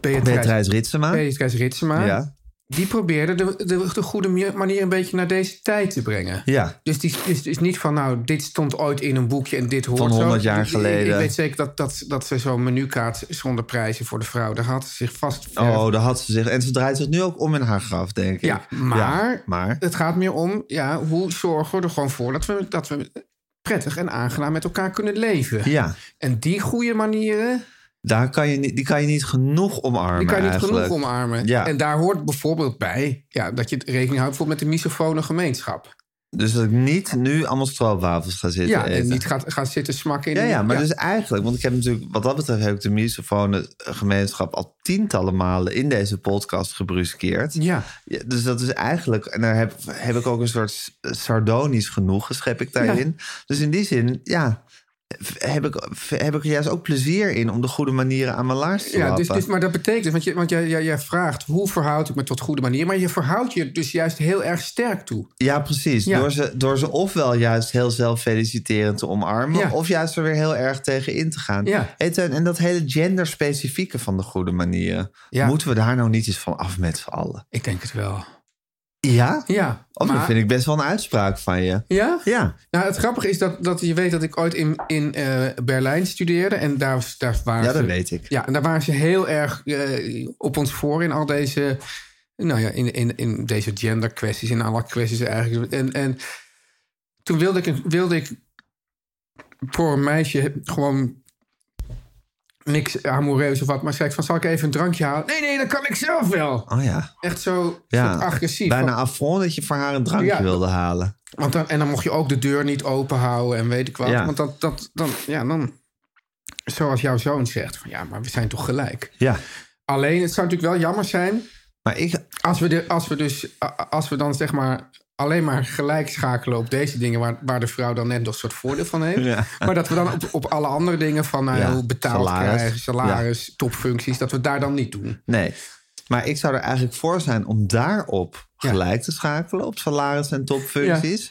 Beatrice
Beatrice,
Ritsema.
Beatrice Ritsema.
Ja.
Die probeerde de, de, de goede manier een beetje naar deze tijd te brengen.
Ja.
Dus het is, is, is niet van, nou, dit stond ooit in een boekje en dit hoort
Van 100
zo.
jaar
Ik- ik- Ik,
geleden.
weet zeker dat, dat, dat ze zo'n menukaart zonder prijzen voor de vrouw... daar had ze zich vast verder
Oh, daar had ze zich... en ze draait zich nu ook om in haar graf, denk ik.
Ja, maar,
Ja, maar...
het gaat meer om ja, hoe zorgen we er gewoon voor dat we, dat we prettig en aangenaam met elkaar kunnen leven.
Ja,
En die goede manieren,
daar kan je niet, die kan je niet genoeg omarmen
die kan je niet
eigenlijk.
genoeg omarmen.
Ja.
En daar hoort bijvoorbeeld bij ja, dat je rekening houdt bijvoorbeeld met de misofone gemeenschap.
Dus dat ik niet nu allemaal stroopwafels ga zitten
ja, en
eten.
niet gaat, gaat zitten smakken in
Ja,
de-
ja, maar dus eigenlijk, want ik heb natuurlijk, wat dat betreft, heb ik de misofone gemeenschap al tientallen malen in deze podcast gebruskeerd.
Ja.
Ja, dus dat is eigenlijk, en daar heb, heb ik ook een soort s- sardonisch genoegen, schep ik daarin. Dus in die zin, ja, v- heb ik, v- heb ik er juist ook plezier in om de goede manieren aan mijn laars te
Ja, dus,
lappen.
dus, maar dat betekent, want, je, want jij, jij, jij vraagt hoe verhoud ik me tot goede manier, maar je verhoudt je dus juist heel erg sterk toe.
Ja, precies.
Ja.
Door, ze, door ze ofwel juist heel zelffeliciterend te omarmen...
Ja.
of juist er weer heel erg tegen in te gaan.
Ja.
Hey, Teun, en dat hele genderspecifieke van de goede manieren...
Ja.
moeten we daar nou niet eens van af met z'n allen?
Ik denk het wel.
Ja?
Ja.
Oh, dat
maar-
vind ik best wel een uitspraak van je.
Ja? Ja. Nou, het grappige is dat, dat je weet dat ik ooit in, in eh, Berlijn studeerde. En daar, daar waren
Ja,
ze...
dat weet ik.
Ja, en daar waren ze heel erg eh, op ons voor in al deze... Nou ja, in, in, in deze genderkwesties, in alle kwesties eigenlijk. En, en toen wilde ik, een- wilde ik voor een meisje gewoon niks amoureus of wat. Maar zei ik van, zal ik even een drankje halen? Nee, nee, dat kan ik zelf wel.
Oh ja.
Echt zo
ja.
soort agressief.
Bijna
Van-
affront dat je voor haar een drankje
Ja.
wilde halen.
want dan, en dan mocht je ook de deur niet open houden en weet ik wat.
Ja.
Want dat, dat, dan, ja, dan, zoals jouw zoon zegt, van ja, maar we zijn toch gelijk.
Ja.
Alleen, het zou natuurlijk wel jammer zijn.
Maar ik...
Als we, de, als we, dus, a- a- als we dan zeg maar alleen maar gelijk schakelen op deze dingen... waar, waar de vrouw dan net nog een soort voordeel van heeft.
Ja.
Maar dat we dan op, op alle andere dingen van nou,
Ja,
hoe betaald
salaris.
krijgen... salaris, topfuncties, dat we het daar dan niet doen.
Nee. Maar ik zou er eigenlijk voor zijn om daarop gelijk te schakelen. Op salaris en topfuncties.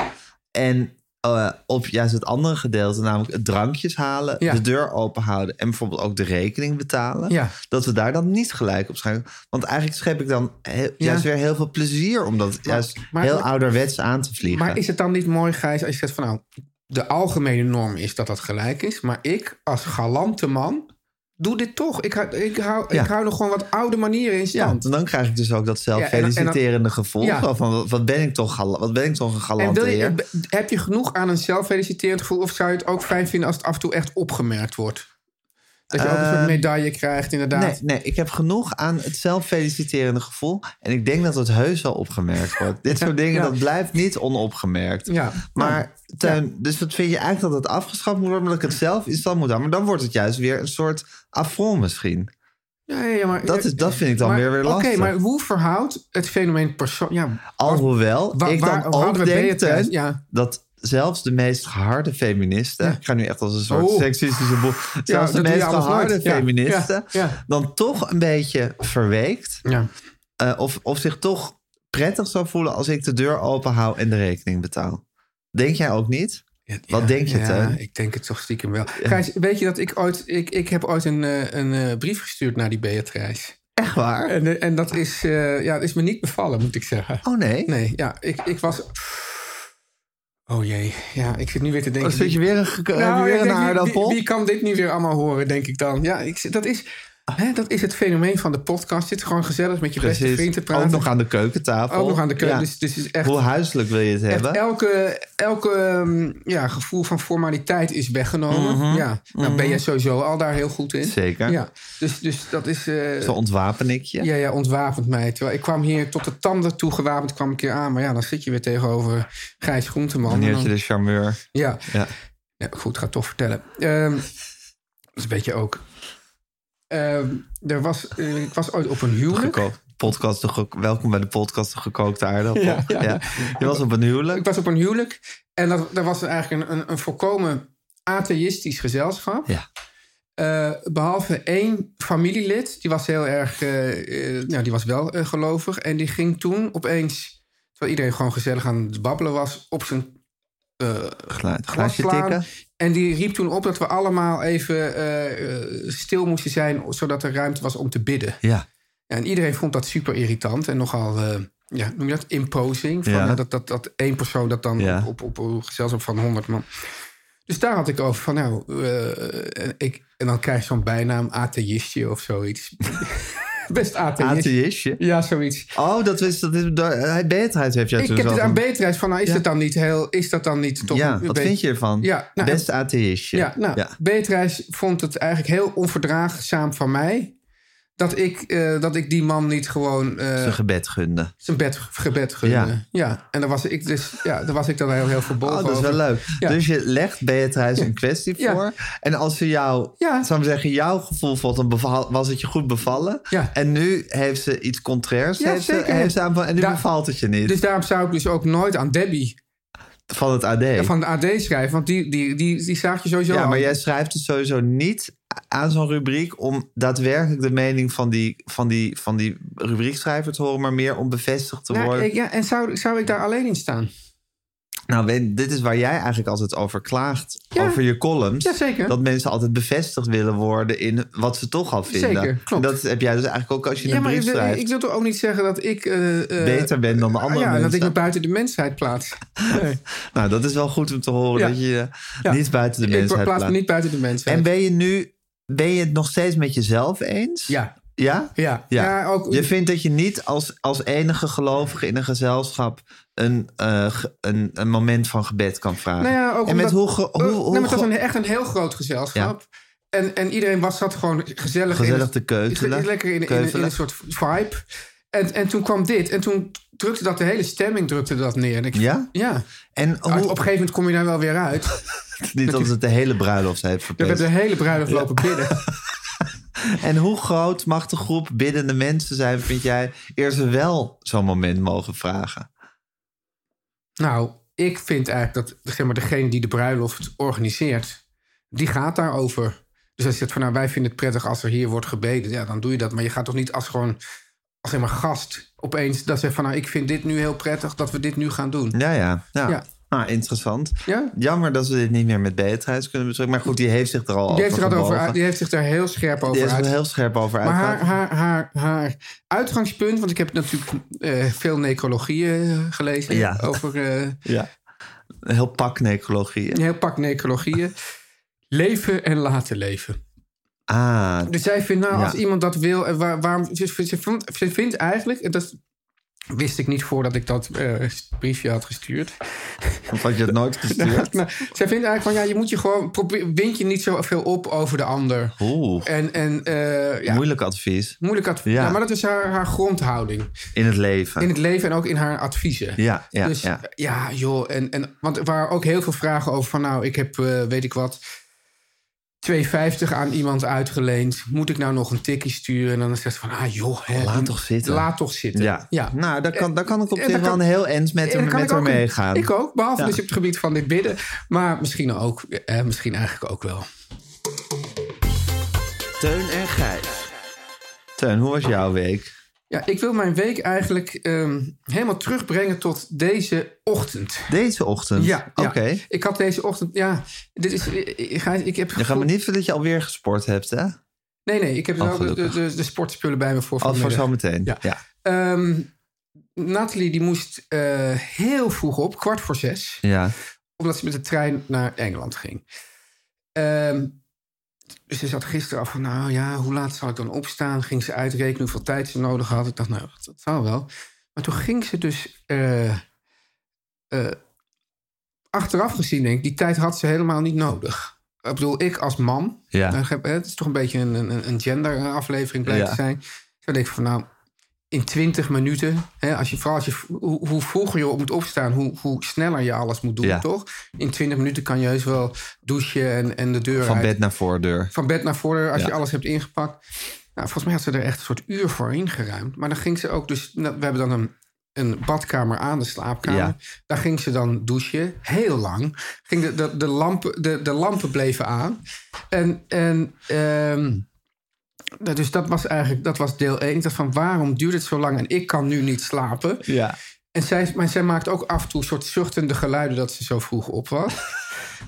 En eh, op juist het andere gedeelte, namelijk het drankjes halen,
Ja.
de deur open houden en bijvoorbeeld ook de rekening betalen.
Ja.
Dat we daar dan niet gelijk op schakelen. Want eigenlijk schep ik dan he- juist weer heel veel plezier om dat juist
maar-
heel ouderwets aan te vliegen.
Maar is het dan niet mooi, Gijs, als je zegt van nou, de algemene norm is dat dat gelijk is, maar ik als galante man doe dit toch. Ik, hou- ik, hou,
Ja.
ik hou nog gewoon wat oude manieren in
Ja,
stand.
want dan krijg ik dus ook dat
Ja, en dan- en
zelffeliciterende
dan-
gevoel.
Ja.
Zo Van, wat- wat ben ik toch, gal- wat ben ik toch een
en
galante
wil je,
heer.
b- heb je genoeg aan een zelffeliciterend gevoel of zou je het ook fijn vinden als het af en toe echt opgemerkt wordt? Dat je ook een soort
Ehm,
medaille krijgt, inderdaad.
Nee, nee, ik heb genoeg aan het zelffeliciterende gevoel. En ik denk dat het heus wel opgemerkt wordt. Dit soort dingen,
ja.
dat blijft niet onopgemerkt.
Ja.
Maar Teun, dus wat vind je eigenlijk dat het afgeschaft moet worden... maar dat ik het zelf in stand moet houden? Maar dan wordt het juist weer een soort affront misschien.
Ja, ja, ja, maar,
Dat, is, dat vind ik dan
maar-
weer weer
Oké,
lastig.
maar hoe verhoudt het fenomeen persoon... Ja,
Alhoewel,
Waar-
ik
waar-
dan
waar hadden
ook
we
denk,
Beatrice?
Teun,
Ja.
dat zelfs de meest geharde feministen... Ik ga nu echt als een soort
Oh.
seksistische boel... Zelfs
dat
de
doe je
meest
anders
geharde
nooit. Ja,
feministen...
ja, ja.
dan toch een beetje verweekt.
Ja.
Eh, of, of zich toch prettig zou voelen als ik de deur open hou en de rekening betaal. Denk jij ook niet? Wat denk je,
ja,
Teun?
ik denk het toch stiekem wel. Gijs, weet je dat ik ooit... Ik, ik heb ooit een, eh, een eh, brief gestuurd naar die Beatrice.
Echt waar?
En, eh, en dat is, eh, ja, dat is me niet bevallen, moet ik zeggen.
Oh nee?
Nee, ja, ik, ik was... Oh jee, ja, ik zit nu weer te denken... Nou,
Oh, zit je weer een gek- heb je weer
ik
een
denk, wie-
aardappel?
Wie, wie kan dit nu weer allemaal horen, denk ik dan. Ja, ik, zit- dat, is, hè, dat is het fenomeen van de podcast. Zit gewoon gezellig met je beste vriend te praten.
Ook nog aan de keukentafel.
Ook nog aan de keuken,
Ja.
dus, dus het is echt...
Hoe huiselijk wil je het
Echt
hebben?
elke, elke ehm, ja, gevoel van formaliteit is weggenomen.
Mhm.
Ja. Nou ben jij sowieso al daar heel goed in.
Zeker.
Ja. Dus, dus dat is... eh,
Zo ontwapen ik je.
ja, ja, ontwapend mij. Terwijl ik kwam hier tot de tanden toe gewapend kwam ik hier aan. Maar ja, dan zit je weer tegenover Gijs Groenteman. En
Meneertje
dan-
de charmeur.
Ja.
Ja.
Ja, goed, ga het toch vertellen. Ehm, dat is een beetje ook... Ehm, er was, eh, ik was ooit op een huwelijk.
Gekookt. Podcast de gek- Welkom bij de podcast De Gekookte Aardappel.
Ja,
Ja,
ja.
Je was op een huwelijk.
Ik was op een huwelijk. En dat, dat was eigenlijk een, een, een volkomen atheïstisch gezelschap.
Ja.
Eh, behalve één familielid, die was heel erg, eh, eh, nou, die was wel eh, gelovig. En die ging toen opeens, terwijl iedereen gewoon gezellig aan het babbelen was, op zijn eh,
Geluid.
glas
Glaasje
slaan.
tikken.
En die riep toen op dat we allemaal even eh, eh, stil moesten zijn, zodat er ruimte was om te bidden.
Ja.
En iedereen vond dat super irritant en nogal, eh, ja, noem je dat, imposing. Van,
Ja.
eh, dat, dat, dat één persoon dat dan
Ja.
op, op, op een gezelschap van 100 man. Dus daar had ik over van, nou, eh, en ik, en dan krijg je zo'n bijnaam atheïstje of zoiets. Best atheïstje.
Atheïstje.
Ja, zoiets.
Oh, dat is... Dat is daar- hij- Beatrice heeft jou
Ik
toen
heb
zo
het aan
van-
Beatrice van, nou, is
Ja.
dat dan niet heel, is dat dan niet toch
Ja,
een
wat
beetje-
vind je ervan?
Ja, nou,
Best atheïstje.
Ja, nou,
ja.
Beatrice vond het eigenlijk heel onverdraagzaam van mij... dat ik, eh, dat ik die man niet gewoon... eh,
Zijn gebed gunde.
zijn bed, gebed gunde. Ja.
Ja.
en daar was ik dus, ja, daar was ik dan heel, heel verbolgen
Oh, dat is wel
over.
leuk.
Ja.
Dus je legt Beatrice een kwestie
Ja.
voor. En als ze jou,
Ja.
zou ik zeggen, jouw gevoel vond, dan beval- was het je goed bevallen.
Ja.
En nu heeft ze iets contrairs.
Ja,
heeft ze-
zeker.
heeft ze aan van- en nu
Da-
bevalt het je niet.
Dus daarom zou ik dus ook nooit aan Debbie
van het AD. Ja,
van de AD schrijven... want die, die, die, die zag je sowieso al.
maar jij schrijft het sowieso niet aan zo'n rubriek om daadwerkelijk de mening van die, van die, van die rubriekschrijver te horen, maar meer om bevestigd te
Nou,
worden.
ik- ja, en zou, zou ik daar alleen in staan?
Nou, Wen, dit is waar jij eigenlijk altijd over klaagt. over je columns.
Jazeker.
Dat mensen altijd bevestigd willen worden in wat ze toch al vinden.
Zeker, klopt.
En dat heb jij dus eigenlijk ook als je
Ja,
een
maar ik
brief
wil,
schrijft.
ik wil toch ook niet zeggen dat ik... eh, eh,
beter bent dan de andere
ja,
mensen.
dat ik me buiten de mensheid plaats. Nee.
Nou, dat is wel goed om te horen
Ja.
dat je je
Ja.
niet buiten de
Ik
mensheid
plaats me
plaatst.
niet buiten de mensheid.
En ben je nu ben je het nog steeds met jezelf eens?
Ja.
Ja?
Ja. Ja, ook-
je vindt dat je niet als, als enige gelovige in een gezelschap een, eh, ge- een, een moment van gebed kan vragen.
Nou ja, ook
en met
omdat-
hoe, ge- hoe,
eh,
hoe
nee, maar het was
ge-
een, echt een heel groot gezelschap. En, en iedereen was, zat gewoon gezellig,
Gezellig
in,
te keuvelen.
Lekker in, in- in,
Keuvelen.
een soort vibe. En, en toen kwam dit. En toen drukte dat de hele stemming drukte dat neer. En ik,
Ja?
Ja.
En
Op een gegeven moment kom je daar wel weer uit.
Niet dat het de hele bruiloft heeft
We
verpest.
hebben de hele bruiloft lopen bidden.
En hoe groot mag de groep biddende mensen zijn, vind jij, eer ze wel zo'n moment mogen vragen?
Nou, ik vind eigenlijk dat zeg maar, degene die de bruiloft organiseert, die gaat daarover. Dus als je zegt van nou, wij vinden het prettig als er hier wordt gebeden, ja, dan doe je dat. Maar je gaat toch niet als gewoon als zeg maar gast opeens dat zegt van nou, ik vind dit nu heel prettig dat we dit nu gaan doen.
Ja, ja. ja.
Ja.
Ah, interessant.
Ja?
Jammer dat we dit niet meer met Beatrice kunnen bespreken. Maar goed, die heeft zich er al
die, heeft er
over
altijd over
gebogen.
uit- die heeft zich daar heel scherp
Die
over
is er
uit.
heel scherp over uit.
Maar haar, haar, haar, haar uitgangspunt, want ik heb natuurlijk eh, veel necrologieën eh, gelezen
Ja.
over eh,
Ja. Een heel pak necrologieën.
Een heel pak necrologieën. Leven en laten leven.
Ah,
Dus zij vindt, nou,
Ja.
als iemand dat wil, en waar, waarom, ze, ze- ze vond- ze vindt eigenlijk, en dat wist ik niet voordat ik dat eh, briefje had gestuurd.
of had je het nooit gestuurd?
Nou, zij vindt eigenlijk van, ja, je moet je gewoon, probeer, wind je niet zoveel op over de ander.
Oeh,
En, en eh, ja,
moeilijk advies
moeilijk advies.
Ja.
Ja. maar dat is haar, haar grondhouding.
in het leven.
In het leven en ook in haar adviezen.
Ja, ja,
dus
ja.
ja, joh. En, en, want er waren ook heel veel vragen over van... nou, ik heb, eh, weet ik wat, 2,50 aan iemand uitgeleend. Moet ik nou nog een tikkie sturen? En dan zegt ze van, ah joh. Hè,
Laat toch zitten.
Laat toch zitten.
Ja.
ja. Eh,
Nou, daar kan, daar kan ik op
En
zich
daar
wel een
kan-
heel eind met,
En
hem-
dan kan
met
ik
haar
ook een-
meegaan.
Ik ook, behalve
Ja.
dus op het gebied van dit bidden. Maar misschien ook, eh, misschien eigenlijk ook wel.
Teun en Gijs. Teun, hoe was jouw week?
Ja, ik wil mijn week eigenlijk ehm, helemaal terugbrengen tot deze ochtend.
Deze ochtend?
Ja,
Oké.
ja. Ik had deze ochtend, ja, dit is, ik, ik, ik heb
Je gaat me
gevoel-
niet vertellen dat je alweer gesport hebt, hè?
Nee, nee, ik heb
Oh,
wel de, de,
gelukkig.
de, de sportspullen bij me voor
Al voor
vanmiddag.
zometeen.
Ja.
ja.
Ehm, Nathalie die moest eh, heel vroeg op, kwart voor zes,
Ja.
omdat ze met de trein naar Engeland ging. Ehm, dus ze zat gisteren af van, nou ja, hoe laat zal ik dan opstaan? Ging ze uitrekenen hoeveel tijd ze nodig had. Ik dacht, nou, dat, dat zal wel. Maar toen ging ze dus, eh, eh, achteraf gezien denk ik, die tijd had ze helemaal niet nodig. Ik bedoel, ik als man,
Ja.
nou, ik heb- hè, het is toch een beetje een, een, een genderaflevering blijft
Ja.
te zijn. Zo denk ik van, nou, in 20 minuten. Hè, als je, vooral als je, hoe, hoe vroeger je op moet opstaan, hoe, hoe sneller je alles moet doen,
Ja.
toch? In 20 minuten kan je heus wel douchen en, en de deur
Van
uit.
bed naar voordeur.
Van bed naar voren, als
Ja.
je alles hebt ingepakt. Nou, volgens mij had ze er echt een soort uur voor ingeruimd. Maar dan ging ze ook dus... nou, we hebben dan een, een badkamer aan de slaapkamer.
Ja.
Daar ging ze dan douchen. Heel lang. Ging de, de, de, lampen, de, de lampen bleven aan. En... en ehm, nou, dus dat was eigenlijk dat was deel 1. Ik dacht van waarom duurt het zo lang en ik kan nu niet slapen?
Ja.
En zij, maar zij maakt ook af en toe een soort zuchtende geluiden dat ze zo vroeg op was.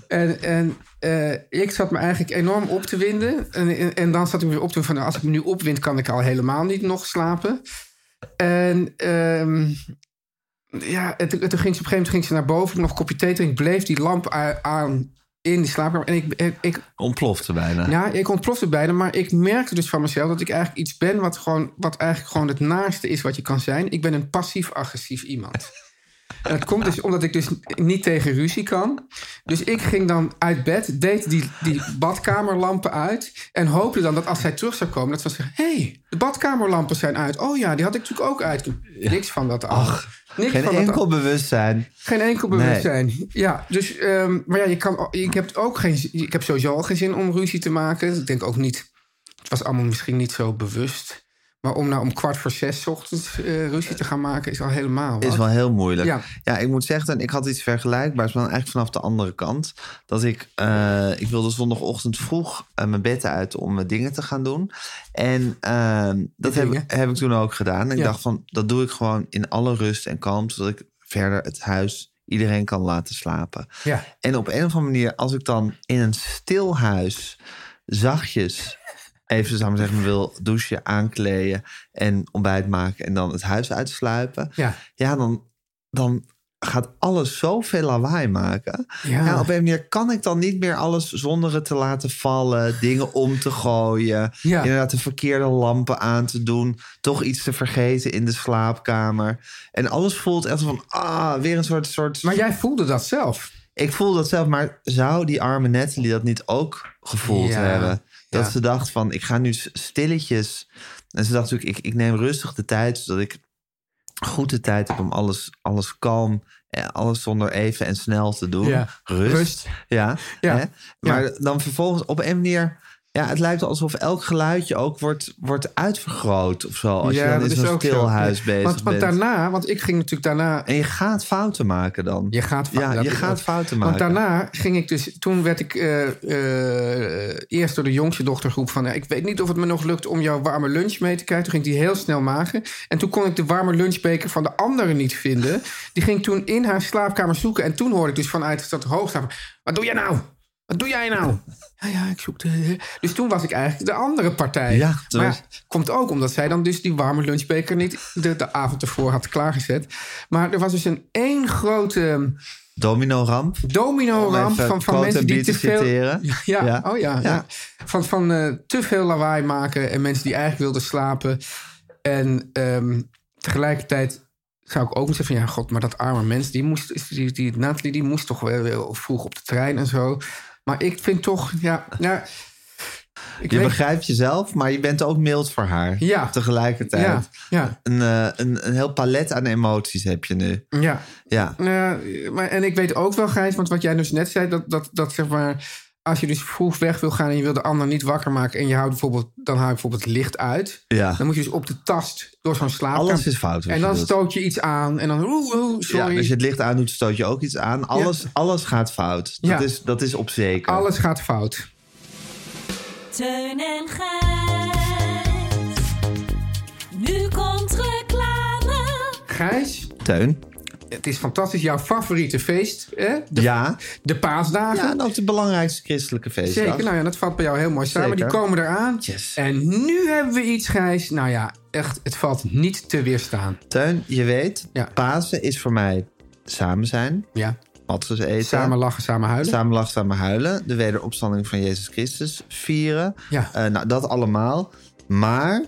en en eh, ik zat me eigenlijk enorm op te winden. En, en, en dan zat ik me weer op te winden van nou, als ik me nu opwind kan ik al helemaal niet nog slapen. En ehm, ja, en toen, en toen ging ze op een gegeven moment ging ze naar boven, nog een kopje thee drinken, bleef die lamp a- aan in die slaapkamer. En ik, en ik
Ontplofte bijna.
ja, ik ontplofte bijna, maar ik merkte dus van mezelf dat ik eigenlijk iets ben wat, gewoon, wat eigenlijk gewoon het naaste is wat je kan zijn. Ik ben een passief-agressief iemand. En dat komt dus omdat ik dus niet tegen ruzie kan. Dus ik ging dan uit bed, deed die, die badkamerlampen uit. En hoopte dan dat als zij terug zou komen, dat ze zeggen: hé, hey, de badkamerlampen zijn uit. Oh ja, die had ik natuurlijk ook uit. Niks van dat af. Niks
Geen
van dat
enkel bewustzijn.
geen enkel
Nee.
bewustzijn. Ja, dus, ehm, maar ja, je kan, ik heb ook geen, zin- ik heb sowieso al geen zin om ruzie te maken. Ik denk ook niet, het was allemaal misschien niet zo bewust. Maar om nou om kwart voor zes 's ochtends eh, ruzie te gaan maken is al helemaal. wat.
Is wel heel moeilijk. Ja.
Ja.
ik moet zeggen, ik had iets vergelijkbaars, maar dan eigenlijk vanaf de andere kant. Dat ik, eh, ik wilde zondagochtend vroeg eh, mijn bed uit om eh, dingen te gaan doen. En eh, dat heb,
dingen.
heb ik toen ook gedaan. En ik
Ja.
dacht van, dat doe ik gewoon in alle rust en kalmte, zodat ik verder het huis iedereen kan laten slapen.
Ja.
En op een of andere manier, als ik dan in een stil huis zachtjes even, zou ik maar zeggen, wil douchen, aankleden en ontbijt maken en dan het huis uitsluipen.
Ja.
ja dan, dan gaat alles zoveel lawaai maken.
Ja.
Ja. op een manier kan ik dan niet meer alles zonder het te laten vallen, dingen om te gooien,
Ja.
inderdaad de verkeerde lampen aan te doen, toch iets te vergeten in de slaapkamer. En alles voelt echt van, ah, weer een soort... soort... Maar
jij voelde dat zelf?
Ik voelde dat zelf, maar zou die arme Natalie dat niet ook gevoeld
Ja.
hebben? Dat
Ja.
ze dacht van, ik ga nu s- stilletjes... En ze dacht natuurlijk, ik, ik neem rustig de tijd, zodat ik goed de tijd heb om alles, alles kalm, eh, alles zonder even en snel te doen.
Ja.
Rust.
Rust.
Ja.
Ja.
Hè? Maar
Ja.
dan vervolgens op een manier. Ja, het lijkt alsof elk geluidje ook wordt, wordt uitvergroot of zo. Als je dan in zo'n
ook zo.
stil huis
Ja.
bezig
want, want
bent.
daarna, want ik ging natuurlijk daarna...
En je gaat fouten maken dan.
Je gaat
Ja,
dat
je
is
gaat
ook-
fouten maken.
Want daarna ging ik dus... Toen werd ik eh, eh, eerst door de jongste dochtergroep van... eh, ik weet niet of het me nog lukt om jouw warme lunch mee te krijgen. Toen ging ik die heel snel maken. En toen kon ik de warme lunchbeker van de andere niet vinden. Die ging ik toen in haar slaapkamer zoeken. En toen hoorde ik dus vanuit dat hoogstaaf... Wat doe jij nou? Wat doe jij nou? Ja, ja, ik zoek de... Dus toen was ik eigenlijk de andere partij.
Ja, toen
maar
was-
Komt ook omdat zij dan dus die warme lunchbeker niet de, de avond ervoor had klaargezet. Maar er was dus een één grote
Domino-ramp.
domino-ramp van, van mensen die te veel...
citeren.
Ja, Oh ja, ja. Van, van eh, te veel lawaai maken en mensen die eigenlijk wilden slapen. En ehm, tegelijkertijd zou ik ook moeten zeggen van... ja, god, maar dat arme mens, die moest, die, die, Natalie, die moest toch wel wel vroeg op de trein en zo. Maar ik vind toch, ja... ja ik
je
weet-
begrijpt jezelf, maar je bent ook mild voor haar.
Ja.
Tegelijkertijd.
Ja, ja.
Een, eh, een, een heel palet aan emoties heb je nu.
Ja.
Ja.
Ja, Eh, maar, en ik weet ook wel, Gijs, want wat jij dus net zei, dat, dat, dat zeg maar, als je dus vroeg weg wil gaan en je wil de ander niet wakker maken en je houdt bijvoorbeeld, dan hou je bijvoorbeeld het licht uit.
Ja.
Dan moet je dus op de tast door zo'n slaapkamer.
Alles is fout. wat
En
je
dan
doet.
stoot je iets aan en dan oeh, oeh, sorry.
Ja, als je het licht aandoet, stoot je ook iets aan. Alles, alles gaat fout. Dat,
Ja.
is, dat is op zeker.
Alles gaat fout.
Teun en Gijs. Nu komt reclame.
Gijs,
Teun.
het is fantastisch. Jouw favoriete feest, hè? De,
ja.
de paasdagen.
Ja, en ook de belangrijkste christelijke feestdag.
Zeker, nou ja, dat valt bij jou heel mooi samen.
Zeker.
Die komen eraan. En nu hebben we iets, Gijs. Nou ja, echt, het valt niet te weerstaan.
Teun, je weet, Pasen is voor mij samen zijn.
Ja.
Matzes eten.
Samen lachen, samen huilen.
Samen lachen, samen huilen. De wederopstanding van Jezus Christus vieren.
Ja.
Eh, nou, dat allemaal. Maar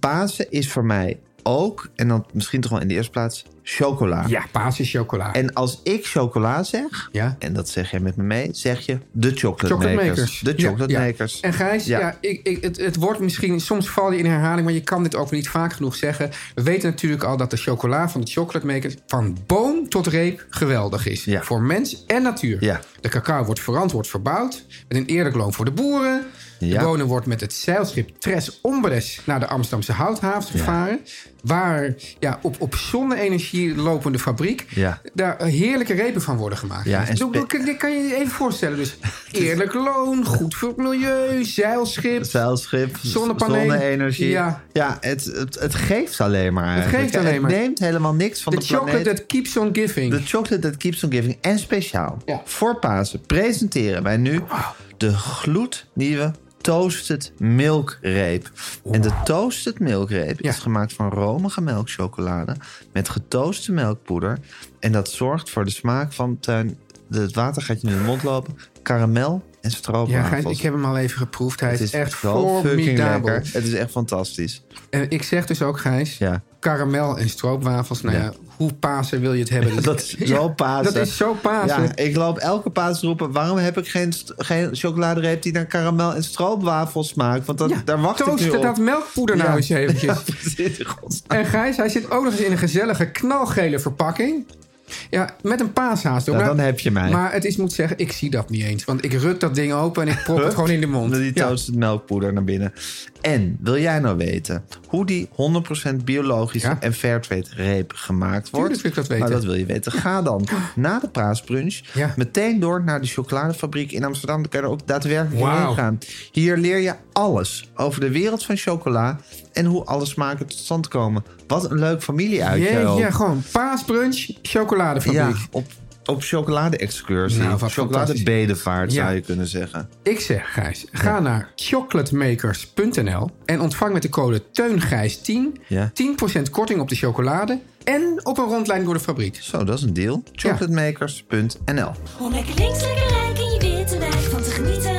Pasen is voor mij ook, en dan misschien toch wel in de eerste plaats, chocola.
Ja, Paas is chocola.
En als ik chocola zeg, en dat zeg jij met me mee, zeg je de chocolate,
Chocolate
makers.
makers.
De
Ja,
chocolate
ja.
makers.
En Gijs, ja. ik, ik, het, het wordt misschien, soms val je in herhaling, maar je kan dit ook niet vaak genoeg zeggen. We weten natuurlijk al dat de chocola van de chocolademakers van boom tot reep geweldig is. Voor mens en natuur. De cacao wordt verantwoord verbouwd, met een eerlijk loon voor de boeren.
Ja.
De bonen wordt met het zeilschip Tres Ombres naar de Amsterdamse houthaven gevaren. Waar ja, op, op zonne-energie lopende fabriek
Ja.
daar heerlijke repen van worden gemaakt.
Ja, en
Ik bedoel,
spe-
dit kan je je even voorstellen. Dus eerlijk loon, goed voor het milieu, zeilschip.
Zeilschip,
Zonnepanelen.
zonne-energie.
Ja.
het, het, het geeft alleen maar
Het
eigenlijk.
geeft alleen maar.
Het neemt helemaal niks van
The
de planeet.
chocolate that keeps on giving.
De chocolate that keeps on giving. En speciaal voor Pasen presenteren wij nu
Ah.
de gloednieuwe toasted milkreep. En de toasted milkreep is gemaakt van romige melkchocolade met getooste melkpoeder. En dat zorgt voor de smaak van tuin. Het water gaat je nu in de mond lopen. Karamel en
Ja, Gijs,
stroopwafels.
ik heb hem al even geproefd. Hij
het
is,
is
echt
zo fucking
formidabel.
lekker. Het is echt fantastisch.
En ik zeg dus ook, Gijs,
Ja.
karamel en stroopwafels. Nou ja,
Ja.
hoe Pasen wil je het hebben?
Dat is zo Pasen.
Dat is zo Pasen.
Ja, ik loop elke paas roepen... waarom heb ik geen, st- geen chocoladereep die naar karamel en stroopwafels smaakt? Want dat, daar wacht ik nu
Toosten
op.
dat melkpoeder nou
Ja.
eens eventjes.
Ja, precies, in godsnaam.
En Gijs, hij zit ook nog eens in een gezellige knalgele verpakking. Ja, met een paashaas.
Nou,
Maar-
dan heb je mij.
Maar het is, moet zeggen, ik zie dat niet eens. Want ik ruk dat ding open en ik prop het
Hup,
gewoon in de mond.
Die
Ja.
toasted melkpoeder naar binnen. En wil jij nou weten hoe die 100% biologische en fairtrade reep gemaakt wordt?
Tuurlijk wil ik dat
Nou,
weten.
dat wil je weten. Ga dan na de paasbrunch meteen door naar de chocoladefabriek in Amsterdam. Dan kan je er ook daadwerkelijk
Wauw.
heen gaan. Hier leer je alles over de wereld van chocola en hoe alle smaken tot stand komen. Wat een leuk familieuitje.
Jee,
ook.
ja, gewoon paasbrunch, chocoladefabriek.
Ja, op op chocolade-excursie.
Nou, wat
Chocoladebedevaart
Ja.
zou je kunnen zeggen.
Ik zeg, Gijs, ga naar chocolatemakers.nl en ontvang met de code TEUNGRIJS10
Ja.
10% korting op de chocolade en op een rondleiding door de fabriek. Dus
Zo, dat is een deal. Chocolatemakers.nl
Om lekker links, lekker rijk in je witte wijk van te genieten.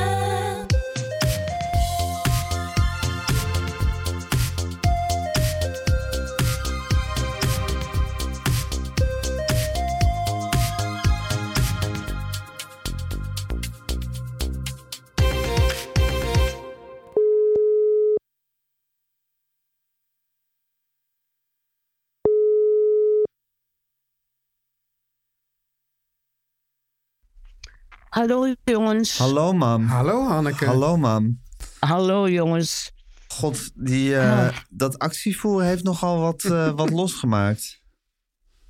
Hallo jongens.
Hallo, mam.
Hallo, Hanneke.
Hallo, mam.
Hallo, jongens.
God, die, eh, dat actievoeren heeft nogal wat, eh, wat losgemaakt.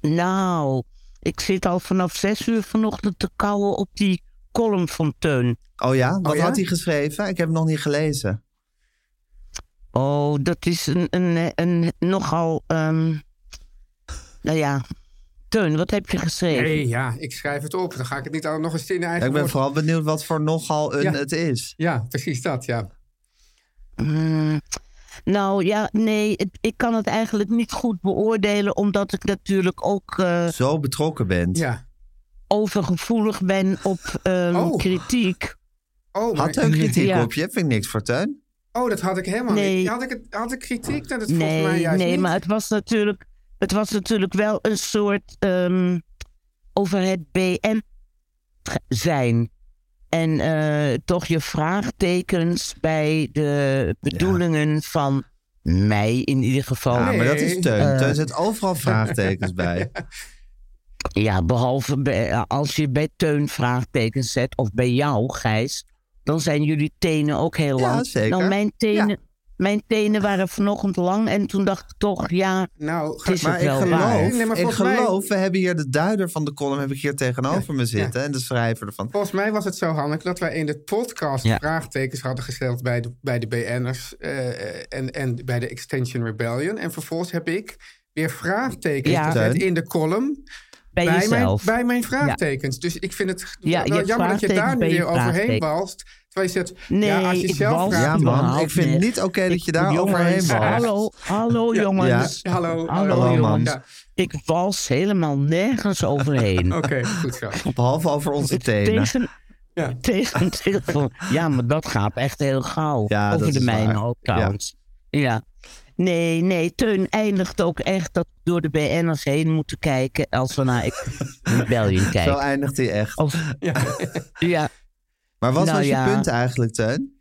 Nou, ik zit al vanaf zes uur vanochtend te kauwen op die column van Teun.
Oh ja? Wat had hij geschreven? Ik heb hem nog niet gelezen.
Oh, dat is een, een, een nogal... ehm, nou ja, Teun, wat heb je geschreven?
Nee, ja, ik schrijf het op. Dan ga ik het niet al- nog eens in de
Ja,
eigen
ik ben
woorden-
vooral benieuwd wat voor nogal een
Ja.
het is.
Ja, precies dat, ja.
Hmm. Nou ja, nee, het- ik kan het eigenlijk niet goed beoordelen, omdat ik natuurlijk ook eh,
Zo betrokken bent.
Ja.
overgevoelig ben op ehm, kritiek.
Oh,
Had hij een kritiek
Ja.
op je? Vind ik niks, Fortuin.
Oh, dat had ik helemaal
Nee.
niet. Had ik, het, had ik kritiek? Dat het
nee,
volgens mij juist
nee
niet.
maar het was, natuurlijk, het was natuurlijk wel een soort ehm, over het BN zijn. En eh, toch je vraagtekens bij de bedoelingen van mij in ieder geval.
Ja, maar dat is Teun.
Eh,
Teun zet overal vraagtekens bij.
Ja, behalve bij- als je bij Teun vraagtekens zet, of bij jou, Gijs, dan zijn jullie tenen ook heel
Ja,
lang.
zeker.
Nou, mijn tenen, mijn tenen waren vanochtend lang en toen dacht ik toch, ja,
nou,
het is
maar
ook
ik
wel waar.
geloof,
Nee, maar
ik
volgens mij-
geloof we hebben hier de duider van de column heb ik hier tegenover me zitten. En de schrijver ervan.
Volgens mij was het zo, Hanneke, dat wij in de podcast
Ja.
vraagtekens hadden gesteld bij de, bij de BN'ers eh, en, en bij de Extension Rebellion. En vervolgens heb ik weer vraagtekens
Ja.
gezet
Teun.
in de column
Bij
mijn,
jezelf.
bij mijn vraagtekens. Dus ik vind het
Ja, je
wel
hebt
jammer dat je daar
vraagtekens
nu
bij je
weer overheen
vraagtekens.
balst. Terwijl je zegt,
Nee,
ja, als je
ik
zelf
wals
vraagt...
Ja, man,
überhaupt
ik vind
niet.
het niet oké dat je daar
jongens,
overheen balst.
Hallo, hallo
Ja.
jongens.
Ja. Hallo,
hallo,
hallo, man.
jongens.
Ja.
Ik wals helemaal nergens overheen.
goed zo.
Behalve over onze tenen.
Tegen,
ja.
tegen, tegen- ja, maar dat gaat echt heel gauw.
Ja,
Over
dat
de
is
mijne
waar.
ook trouwens. Ja. Nee, nee, Teun eindigt ook echt dat we door de BN'ers heen moeten kijken als we naar België kijken.
Zo eindigt hij echt.
ja.
Maar wat
Nou
was
ja.
je punt eigenlijk, Teun?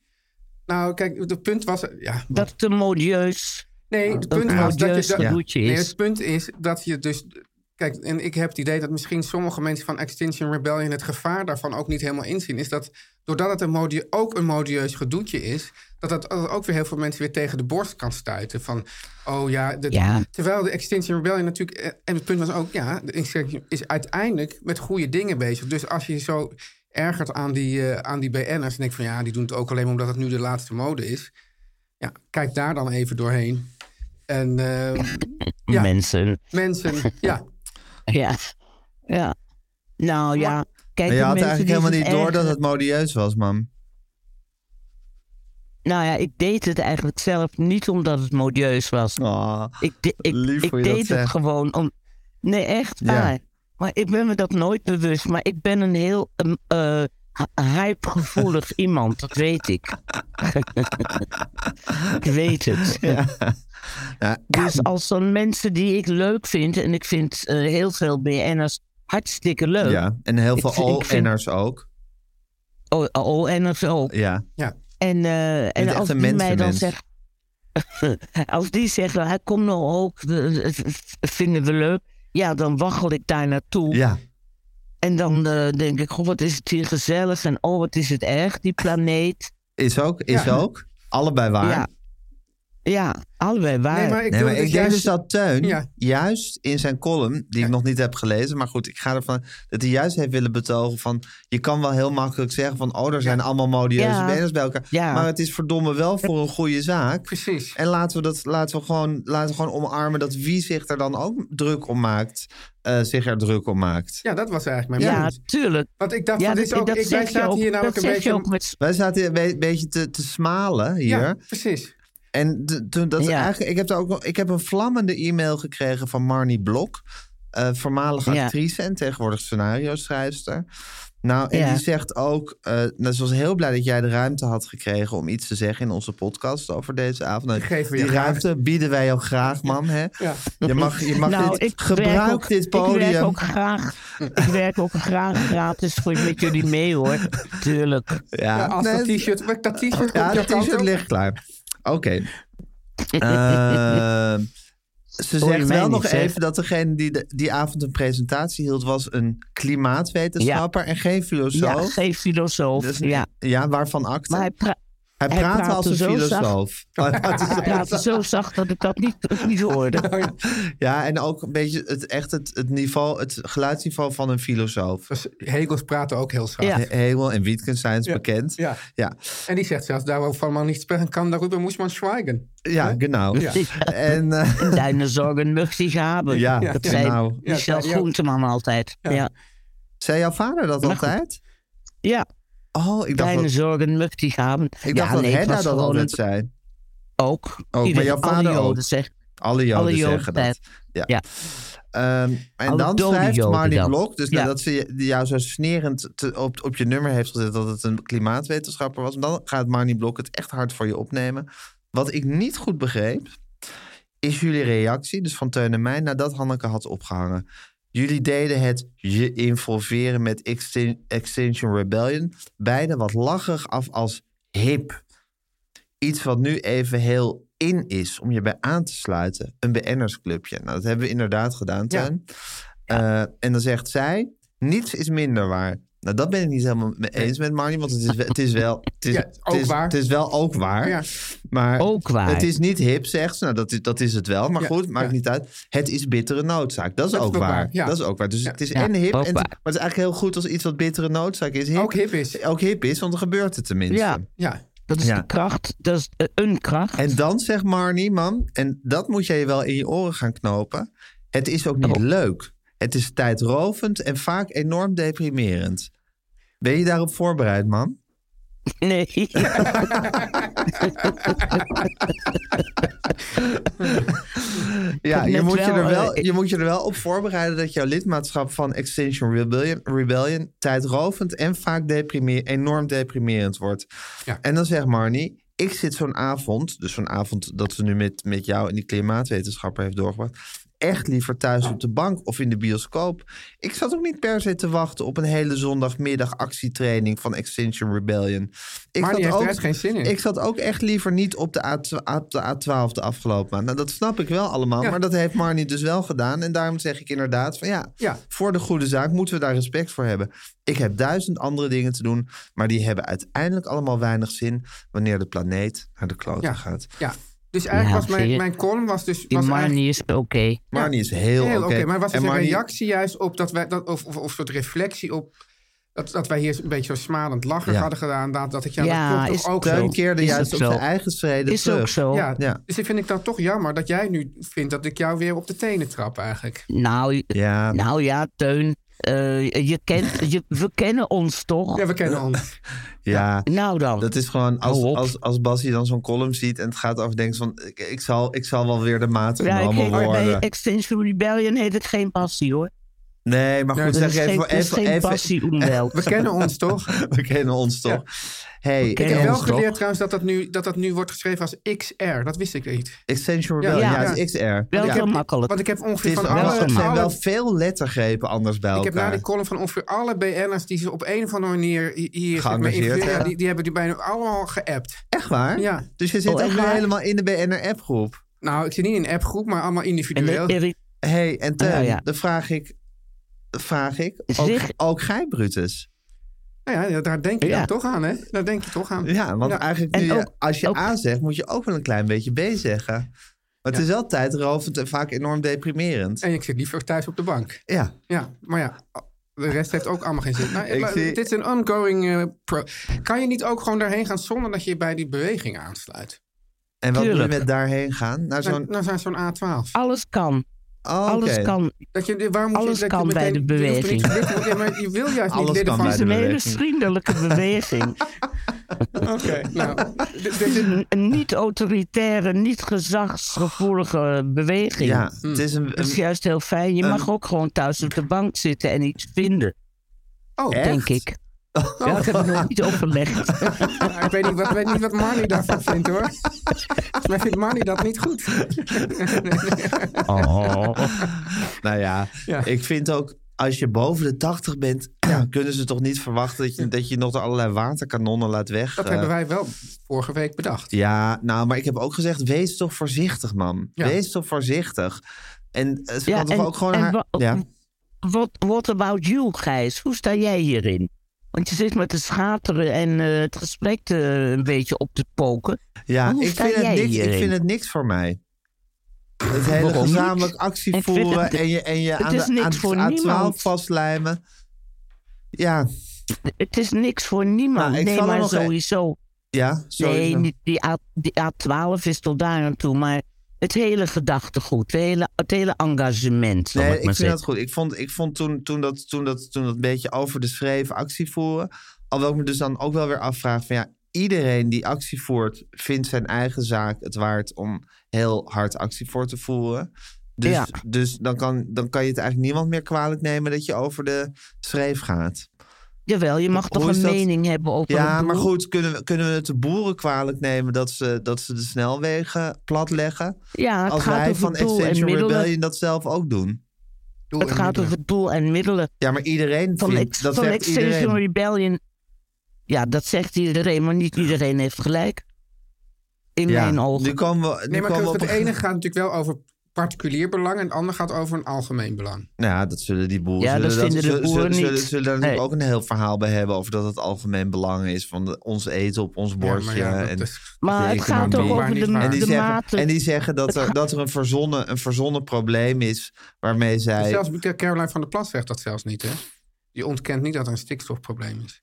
Nou, kijk, het punt was... Ja,
Dat het een modieus...
Nee, het punt was
een
Nou, dat je
modieus
dat-
gedoetje
Nee,
is.
het punt is dat je dus. Kijk, en ik heb het idee dat misschien sommige mensen van Extinction Rebellion het gevaar daarvan ook niet helemaal inzien. Is dat doordat het een modie, ook een modieus gedoetje is, dat dat ook weer heel veel mensen weer tegen de borst kan stuiten. Van, oh ja, dit-
Ja.
terwijl de Extinction Rebellion natuurlijk. eh, En het punt was ook, ja, de Extinction is uiteindelijk met goede dingen bezig. Dus als je je zo ergert aan die, eh, aan die BN'ers en denkt van ja, die doen het ook alleen maar omdat het nu de laatste mode is. Ja, kijk daar dan even doorheen. En eh, ja,
Mensen.
mensen, ja.
Ja. ja. Nou ja, kijk,
Maar je
de
had
mensen
eigenlijk
die
helemaal
zich
niet door dat
ergeren-
het modieus was, man.
Nou ja, ik deed het eigenlijk zelf niet omdat het modieus was. ik de- ik,
Ah, lief
ik
hoe je dat
deed het
zegt.
gewoon om. Nee, echt
Ja.
waar. Maar ik ben me dat nooit bewust. Maar ik ben een heel ehm, eh, hy- hypegevoelig iemand. Dat weet ik. ik weet het. Dus als dan mensen die ik leuk vind, en ik vind eh, heel veel BN'ers hartstikke leuk.
Ja, en heel
Ik
veel
vind- ik vind-
ON'ers ook.
O- ON'ers ook.
Ja.
ja.
En, eh, en
echt
als
een
die mij dan
mensenmens.
zegt. als die zegt, nou, hij komt nou ook, eh, eh, vinden we leuk. Ja, dan waggel ik daar naartoe.
Ja.
En
Hm.
dan eh, denk ik, goh, wat is het hier gezellig. En oh, wat is het erg, die planeet.
Is ook, is
Ja.
ook. Allebei waar.
Ja. Ja, allebei waar.
Nee, maar ik, denk dus dat Teun
Ja.
juist in zijn column, die ik nog niet heb gelezen, maar goed, ik ga ervan dat hij juist heeft willen betogen van je kan wel heel makkelijk zeggen van oh, er zijn allemaal modieuze
Ja.
beners bij elkaar,
Ja.
maar het is verdomme wel voor een goede zaak. Precies. En laten we dat laten we gewoon laten we gewoon omarmen dat wie zich er dan ook druk om maakt, eh, zich er druk om maakt.
Ja, dat was eigenlijk mijn
Ja,
punt.
tuurlijk.
Want ik dacht,
Ja,
van, dit
dat-
is ook,
dat
ik, wij
zeg je
zaten
ook.
hier namelijk
Dat
een
zeg
beetje...
je ook met-
Wij zaten hier een be- beetje te, te smalen hier.
Ja, precies.
En de- toen dat
Ja.
eigenlijk, ik heb daar ook nog- ik heb een vlammende e-mail gekregen van Marnie Blok, eh, voormalige
Ja.
actrice en tegenwoordig scenario schrijfster. Nou, en
Ja.
die zegt ook, eh nou, ze was heel blij dat jij de ruimte had gekregen om iets te zeggen in onze podcast over deze avond. Nou,
Die geven we
die
je graag.
ruimte bieden wij jou graag, man. Hè? Je mag, je mag
Nou,
dit,
ik
gebruik
werk ook-
dit podium.
Ik werk ook graag, ik werk ook graag gratis voor, met jullie mee hoor. Tuurlijk.
Ja,
Ja, als dat
Nee,
t-shirt... maar Dat t-shirt komt
Ja,
jouw
dat
kant
t-shirt
op.
ligt klaar. Oké. Eh, ze
Hoor je
zegt
mij
wel
niet,
nog
zeg?
even dat degene die de- die avond een presentatie hield... was een klimaatwetenschapper en geen filosoof.
Ja, geen filosoof.
Dus-
ja.
ja, waarvan acte?
Maar hij, pra-
Hij praatte als een
zo
filosoof. Oh, Hij
Zacht,
praatte zo
hij praatte zo zacht dat ik dat niet, niet hoorde.
Ja, en ook een beetje het, echt het, het, niveau, het geluidsniveau van een filosoof.
Dus Hegels praten ook heel zacht. Ja.
He- Hegel en Wittgenstein zijn bekend.
Ja.
Ja.
En die zegt zelfs daarover van man niet spreken kan, daarover moest man schweigen.
Ja, genau.
Ja.
En, eh,
Deine zorgen möchte ik hebben.
Ja,
dat
ja,
zei
nou.
Michel
Ja, ja.
Groenteman altijd. Ja. Ja.
Zei jouw vader dat altijd? Oh, ik dacht
Deine
dat-
zorgen möchte ik hebben.
Ik dacht
ja,
dat
nee, het
Hedda
was
dat
gewoon
altijd
een-
zei.
Ook.
Ook, maar
Iedereen-
jouw
alle
vader
Joden
ook.
zeggen-
Alle Joden,
alle Joden
zeggen dat. Ja. Ehm, en
Alle
dan
dode
schrijft
Joden
Marnie
dan.
Blok, dus nadat
Ja.
ze je- die jou zo snerend te- op, op je nummer heeft gezet dat het een klimaatwetenschapper was, dan gaat Marnie Blok het echt hard voor je opnemen. Wat ik niet goed begreep, is jullie reactie, dus van Teun en mij, nadat Hanneke had opgehangen. Jullie deden het je involveren met Extin- Extinction Rebellion beide wat lacherig af als hip. Iets wat nu even heel in is om je bij aan te sluiten. Een BN'ersclubje. Nou, dat hebben we inderdaad gedaan, Teun. Eh, en dan zegt zij, niets is minder waar. Nou, dat ben ik niet helemaal mee eens met Marnie, want het is, wel- het is wel... Het is,
Ja,
het
ook
is,
waar.
Het is wel ook waar.
Ja.
Maar
Ook waar.
Het is niet hip, zegt ze. Nou, dat is, dat is het wel. Maar
Ja,
goed, maakt
ja.
niet uit. Het is bittere noodzaak. Dat is, ook, waar.
ja.
Dat is ook waar. Dus het is
Ja,
en hip.
ook
en het-
waar.
maar het is eigenlijk heel goed als iets wat bittere noodzaak is. Hip. Ook
hip is.
Ook hip is, want dan gebeurt het tenminste.
Ja.
Ja.
Dat is de kracht. Dat is eh, een kracht.
En dan zegt Marnie, man, en dat moet jij je wel in je oren gaan knopen. Het is ook
Oh.
niet leuk. Het is tijdrovend en vaak enorm deprimerend. Ben je daarop voorbereid, man?
Nee.
Ja, je
Net
moet je,
wel,
er wel,
eh, ik-
je moet je er wel op voorbereiden dat jouw lidmaatschap van Extinction Rebellion, Rebellion tijdrovend en vaak deprimeer, enorm deprimerend wordt. En dan zegt Marnie, ik zit zo'n avond, dus zo'n avond dat ze nu met, met jou en die klimaatwetenschapper heeft doorgebracht, echt liever thuis op de bank of in de bioscoop. Ik zat ook niet per se te wachten op een hele zondagmiddag actietraining van Extinction Rebellion. Ik
Marnie
zat
heeft er echt geen zin in.
Ik zat ook echt liever niet op de, A, op de A12 de afgelopen maand. Nou, dat snap ik wel allemaal.
Ja.
Maar dat heeft Marnie dus wel gedaan. En daarom zeg ik inderdaad van ja,
Ja.
voor de goede zaak moeten we daar respect voor hebben. Ik heb duizend andere dingen te doen. Maar die hebben uiteindelijk allemaal weinig zin wanneer de planeet naar de klote
Ja.
gaat.
Ja. Dus eigenlijk
Ja,
was
zie
mijn,
je.
mijn column was dus...
Die
Was eigenlijk-
Marnie is oké.
Marnie is heel, oké.
Maar was
En
dus een
Marnie-
reactie juist op dat wij, dat, of, of, of een soort reflectie op. Dat, dat wij hier een beetje zo smalend lachen
Ja.
hadden gedaan. Dat, dat ik ja,
Ja,
dat klopt
is-
toch ook
Teun
zo.
keerde
Is
juist
ook
op
zo.
zijn eigen schreden
Is
terug.
ook zo.
Ja,
Ja.
Dus ik vind ik dan toch jammer dat jij nu vindt dat ik jou weer op de tenen trap eigenlijk.
Nou
ja,
nou ja Teun. eh, je kent, je, we kennen ons toch?
Ja, we kennen ons.
Ja,
nou dan.
dat is gewoon als,
Hou op.
als, als Bassie dan zo'n column ziet en het gaat over denkt van ik, ik, zal, ik zal wel weer de maat
Ja, ik
genomen
heet, bij
worden.
Extinction Rebellion heet het geen passie hoor.
Nee, maar
Nee,
goed,
dat
zeg
is geen-
even,
dat is
even,
geen
even-
passie, Oenwel. We
kennen ons toch?
We kennen ons toch? Hey,
Ik heb wel
ons toch?
geleerd trouwens dat dat, nu, dat dat nu wordt geschreven als XR. Dat wist ik niet.
Extension Rebellion, ja, het is XR.
Want
Ja.
ik heb- Want ik heb
Het
ongeveer
is
van
wel-
alle...
er zijn
alle-
wel veel lettergrepen anders bij
Ik heb na
elkaar.
die column van ongeveer alle BN'ers die ze op een of andere manier hi- hier zeg maar,
Geëngageerd
invullen,
hebben.
die, die hebben die bijna allemaal geappt.
Echt waar?
Ja.
Dus je zit
Oh,
ook
echt
nu
waar?
helemaal in de BNR-appgroep.
Nou, ik zit niet in een appgroep, maar allemaal individueel.
hey, en Teun,
Ah, ja.
dan vraag ik, vraag ik ook,
Zeg-
ook gij, Brutus.
Nou ja, daar denk je
Ja.
dan toch aan, hè? Daar denk je toch aan.
Ja, want eigenlijk nu, ja, als je A zegt, moet je ook wel een klein beetje B zeggen. Maar het is wel tijdrovend en vaak enorm deprimerend.
En ik zit liever thuis op de bank.
Ja.
Ja, maar ja, de rest heeft ook allemaal geen zin. Nou,
Ik
maar
zie-
Dit is een ongoing eh, pro- Kan je niet ook gewoon daarheen gaan zonder dat je bij die beweging aansluit?
En wat
Tuurlijk.
nu met daarheen gaan? Naar zo'n...
Nou, nou zo'n A12.
Alles kan.
Oh,
Alles
oké.
kan.
Dat je, waarom moet je-
Alles
dat je
kan bij
meteen-
de
je hoeft er
beweging.
niet te weten, ja, maar je wil juist
Alles
niet lid
kan
van
bij de beweging. Het is een hele vriendelijke beweging.
Oké, nou.
Het is een, een niet-autoritaire, niet-gezagsgevoelige beweging.
Ja, het is een-
Hmm. dat is juist heel fijn. Je
een-
mag ook gewoon thuis op de bank zitten en iets vinden.
Oh,
denk ik. Ja, ik heb het nog niet overlegd.
Nou, ik weet niet, wat, weet niet wat Marnie daarvan vindt hoor. Volgens mij vindt Marnie dat niet goed.
Oh. nou ja, ik vind ook als je boven de 80 bent, kunnen ze toch niet verwachten dat je, dat je nog allerlei waterkanonnen laat weg.
Dat
eh.
hebben wij wel vorige week bedacht.
Ja, nou, maar ik heb ook gezegd, wees toch voorzichtig, man.
Ja.
Wees toch voorzichtig. En eh, ze
Ja,
kan toch
en-
ook gewoon
en
haar...
wa-
Ja.
What, what about you, Gijs? Hoe sta jij hierin? Want je zit met te schateren en eh, het gesprek eh, een beetje op te poken.
Ja,
Hoe
ik
sta
vind, het
jij
niks, ik
hierin?
vind het niks voor mij. Het hele
Waarom?
gezamenlijk
Niks. Ik
actie
vind het-
voeren en je, en je
het
aan
is
de
niks
aan
voor
het A12
niemand.
vastlijmen. Ja.
Het is niks voor niemand.
Nou, ik
nee,
zal er
maar
nog een-
sowieso.
Ja,
Nee,
sowieso.
niet- die, A, die A12 is tot daar aan toe. Maar het hele gedachtegoed, het hele, het hele engagement, zal
Nee,
ik
ik
maar
vind
zeggen.
dat goed. Ik vond, ik vond toen, toen, dat, toen, dat, toen dat beetje over de schreef actie voeren. Alhoewel ik me dus dan ook wel weer afvraag van ja, iedereen die actie voert, vindt zijn eigen zaak het waard om heel hard actie voor te voeren. Dus,
Ja.
dus dan, kan, dan kan je het eigenlijk niemand meer kwalijk nemen dat je over de schreef gaat.
Jawel, je mag
Hoe
toch
is
een
dat?
mening hebben over
Ja,
het doel?
maar goed, kunnen we, kunnen we het de boeren kwalijk nemen dat ze, dat ze de snelwegen platleggen?
Ja, het
Als
gaat
wij
over
van
doel en
Extinction
middelen.
Rebellion dat zelf ook doen.
Het gaat over doel en middelen.
Ja, maar iedereen
van
vindt-
ex,
dat
van
zegt
Extinction
iedereen.
Rebellion. Ja, dat zegt iedereen, maar niet iedereen heeft gelijk. In
Ja,
mijn ogen.
nu komen we- nu
Nee, maar
komen we
het
op een-
ene gaat natuurlijk wel over particulier belang en het andere gaat over een algemeen belang.
Nou Ja, dat zullen die boeren.
Ja,
zullen
dat vinden de
zullen-
boeren
zullen,
niet.
Zullen, zullen daar natuurlijk ook een heel verhaal bij hebben over dat het algemeen belang is van de- ons eten op ons bordje.
ja, dat
en
is-
Maar
de
het gaat
economie.
ook over de- Niet waar, niet
En die,
waar. de
zeggen,
mate-
en die zeggen dat er, dat er een, verzonnen, een verzonnen probleem is waarmee zij.
Zelfs Caroline van der Plas zegt dat zelfs niet, hè? Die ontkent niet dat er een stikstofprobleem is.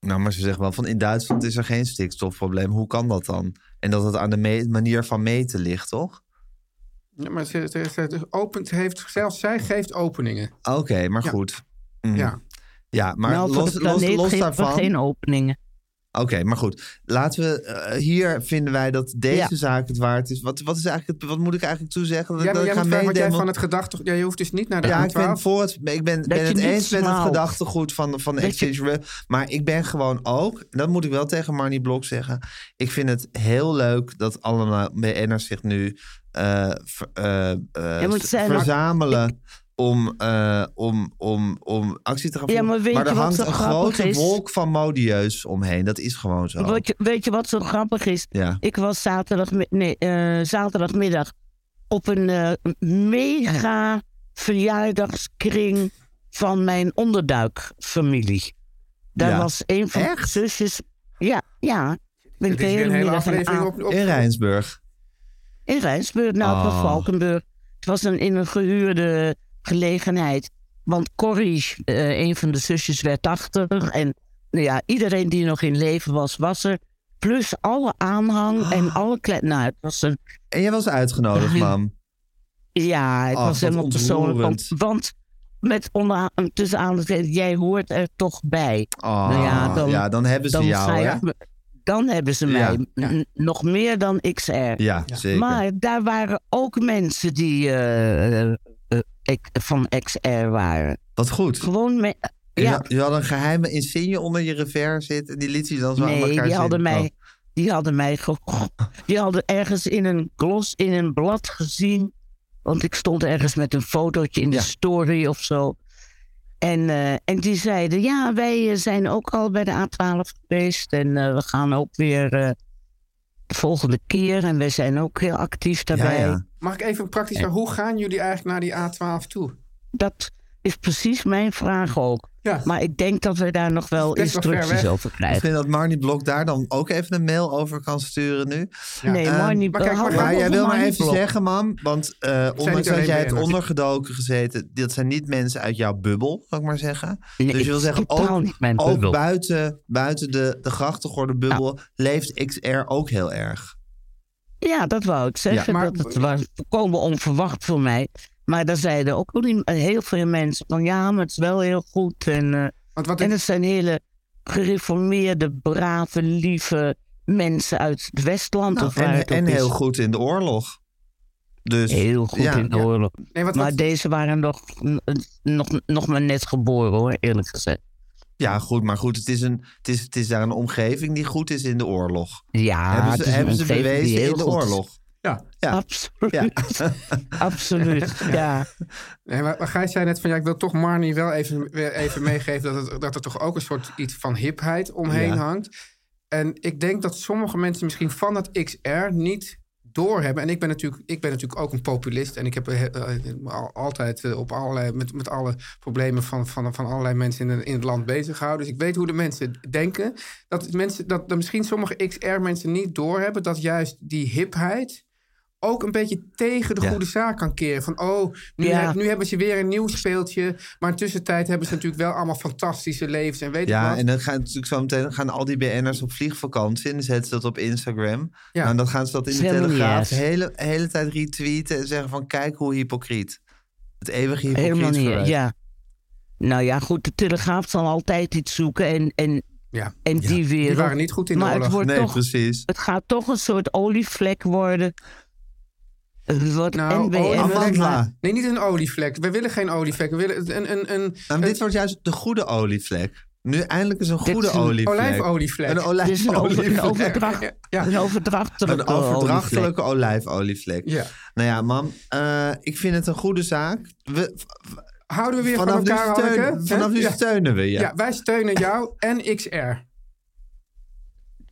Nou, maar ze zeggen wel van in Duitsland is er geen stikstofprobleem. Hoe kan dat dan? En dat het aan de me- manier van meten ligt, toch?
Ja, maar ze, ze, ze opent, heeft, zelfs zij geeft openingen.
Oké, maar goed. Mhm.
Ja.
Ja, maar
Nou, voor
los,
de
los,
planeet
los
geven we
daarvan.
geen openingen.
Oké, maar goed. Laten we eh, hier vinden wij dat deze
Ja.
zaak het waard is. Wat, wat, is eigenlijk het, wat moet ik eigenlijk toezeggen? Dat,
Jij,
ik- dat
jij
ik ga
moet vragen wat jij
meedelen?
van het gedachte... Ja, je hoeft dus niet naar de
Ja,
A12.
ik ben, voor het, ik ben, ben
je
het
niet
eens met het
smaalt.
gedachtegoed van, van
Dat je-
Exchange Rebel. Maar ik ben gewoon ook, en dat moet ik wel tegen Marnie Blok zeggen. Ik vind het heel leuk dat allemaal BN'ers zich nu eh, ver- eh, eh,
Ja, want
s-
zij-
verzamelen. Om, eh, om, om, om actie te gaan
Ja,
voeren.
maar weet
maar
je
er
wat
hangt
zo
een
grappig
grote
is?
wolk van modieus omheen. Dat is gewoon zo.
Weet je, weet je wat zo grappig is?
Ja.
Ik was zaterdag, nee, eh, zaterdagmiddag op een eh, mega verjaardagskring van mijn onderduikfamilie. Daar
Ja.
was een van mijn zusjes. Ja, ja. Ben
Dit
ik
is
de
weer een hele
middag aan-
aflevering op, op
In Rijnsburg.
In Rijnsburg, nou, het was
Oh.
Valkenburg. Het was een, in een gehuurde gelegenheid. Want Corrie, eh, een van de zusjes, werd 80. En nou ja, iedereen die nog in leven was, was er. Plus alle aanhang
Ah.
en alle kled. Nou, het was een.
En jij was uitgenodigd, mam.
Ja, het
Ach,
was
wat
helemaal persoonlijk. Want,
Ah, ontroerend.
want met onder, tussen aanhalingstekens, jij hoort er toch bij.
Oh,
Nou
ja, dan hebben ze jou,
ga je-
hè?
Dan hebben ze mij.
Ja.
N- Nog meer dan XR.
Ja, zeker.
Maar daar waren ook mensen die eh, eh, eh, ik- van XR waren.
Wat goed.
Gewoon me-
Je,
ja,
had- je had een geheime insigne onder je revers zitten. En die liet je dan zo aan elkaar
nee, die
zitten.
hadden,
Oh.
mij, die hadden mij ge- Die hadden ergens in een glos, in een blad gezien. Want ik stond ergens met een fotootje in de story of zo. En, eh, en die zeiden, ja, wij eh, zijn ook al bij de A12 geweest. En eh, we gaan ook weer eh, de volgende keer. En wij zijn ook heel actief daarbij.
Mag ik even praktisch vragen, hoe gaan jullie eigenlijk naar die A12 toe?
Dat is precies mijn vraag ook. Maar ik denk dat we daar nog wel
Best wel ver
instructies
weg.
over krijgen.
Misschien dat Marnie Blok daar dan ook even een mail over kan sturen nu.
Ja. Nee,
Ehm,
Marnie-
maar,
Maar kijk, we gaan
jij
over
wil maar
Marnie
even
Blok.
zeggen, mam. Want eh, ondanks dat
alleen
jij hebt
BN'ers.
ondergedoken gezeten, dat zijn niet mensen uit jouw bubbel, zal ik maar zeggen.
Nee,
dus je wil
ik-
zeggen,
totaal
ook,
niet mijn
ook
bubbel.
buiten, buiten de, de grachtengorde bubbel leeft XR ook heel erg.
Ja, dat wou ik zeggen.
Ja, maar-
Dat het was volkomen onverwacht voor mij. Maar daar zeiden ook wel die- heel veel mensen van... ja, maar het is wel heel goed. En, eh, en het zijn hele gereformeerde, brave, lieve mensen uit het Westland.
Nou,
of waar
en
het ook
en
is.
heel goed in de oorlog. Dus,
heel goed
ja.
in de oorlog.
Nee, wat-
maar
wat-
deze waren nog, nog, nog maar net geboren hoor, eerlijk gezegd.
Ja, goed, maar goed, het is, een, het, is, het is daar een omgeving die goed is in de oorlog.
Ja,
hebben
Ah, het
ze,
is een
hebben ze
omgeving die
bewezen
heel
in de
goed is.
oorlog.
Ja.
Absoluut. Absoluut, ja.
Nee, maar maar Gijs zei net van ja, ik wil toch Marnie wel even, weer even meegeven dat, het, dat er toch ook een soort iets van hipheid omheen
Ja.
hangt. En ik denk dat sommige mensen misschien van dat XR niet doorhebben. En ik ben natuurlijk, ik ben natuurlijk ook een populist. En ik heb eh, eh, al- altijd eh, op allerlei, met, met alle problemen van, van, van allerlei mensen in, het- in het land bezig gehouden. Dus ik weet hoe de mensen denken. Dat, mensen, dat, dat misschien sommige XR-mensen niet doorhebben dat juist die hipheid ook een beetje tegen de
Ja.
goede zaak kan keren. Van, oh, nu,
Ja.
heb- nu hebben ze weer een nieuw speeltje. Maar in tussentijd hebben ze natuurlijk wel allemaal fantastische levens en weet ik
Ja,
wat.
en dan gaan natuurlijk zo meteen gaan al die BN'ers op vliegvakantie en dan zetten ze dat op Instagram.
Ja.
Nou, en dan gaan ze dat in de
Is helemaal niet
Telegraaf de
erg.
hele, hele tijd retweeten en zeggen van kijk hoe hypocriet. Het eeuwige hypocriet
Helemaal niet,
verwijt.
ja. Nou ja, goed, de Telegraaf zal altijd iets zoeken en, en,
Ja.
en die weer...
Die waren niet goed in de
maar het
oorlog. dus-
wordt
Nee,
toch,
precies.
Het gaat toch een soort olievlek worden. Het wordt
Nou,
NBN.
olievlek-
Amandla.
Nee, niet een olievlek. We willen geen olievlek. We willen een... een, een,
Nou, maar
een
dit wordt juist de goede olievlek. Nu eindelijk is een
Dit
goede
is een
olievlek.
olijfolievlek.
Een
Het is een, over, een
olijfolievlek.
overdracht,
Ja.
een overdrachtelijke
Een
olievlek.
overdrachtelijke olijfolievlek.
Ja.
Nou ja, mam, eh, ik vind het een goede zaak. We, v-
Houden we weer
vanaf
van
nu
elkaar,
steunen-
Hanneke?
vanaf
Hè?
nu
Ja.
steunen we je.
Ja. wij steunen jou en XR.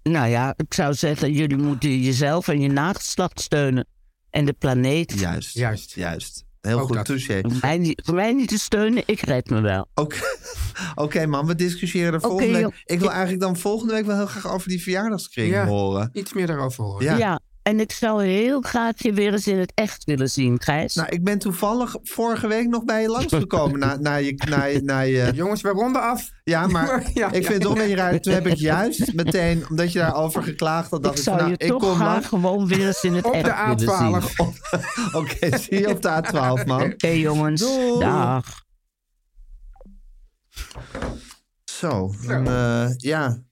Nou ja, ik zou zeggen, jullie moeten jezelf en je nageslacht steunen. En de planeet.
Juist.
Juist.
Juist. Heel
Ook
goed,
dat.
touché.
Voor mij, niet- voor mij niet te steunen, ik red me wel.
Oké, Oké, man, we discussiëren er
Oké,
volgende
joh.
week. Ik wil eigenlijk dan volgende week wel heel graag over die verjaardagskring
Ja.
horen.
Iets meer daarover horen.
Ja.
Ja. en ik zou heel graag je weer eens in het echt willen zien, Gijs.
Nou, ik ben toevallig vorige week nog bij je langsgekomen. Na, na je, na, je- na je,
Jongens, we ronden af.
ja, maar
Maar ja,
ik vind het
ja.
toch een beetje raar. Toen heb ik juist meteen, omdat je daarover geklaagd had, dacht
ik
ik,
zou
van, nou,
je
ik
toch
kom
graag
lang.
gewoon weer eens in het
Op
echt
de
willen zien.
A12.
Oké
Oké, zie je op de A12, man.
jongens,
Doei.
dag.
Zo, dan, eh, ja,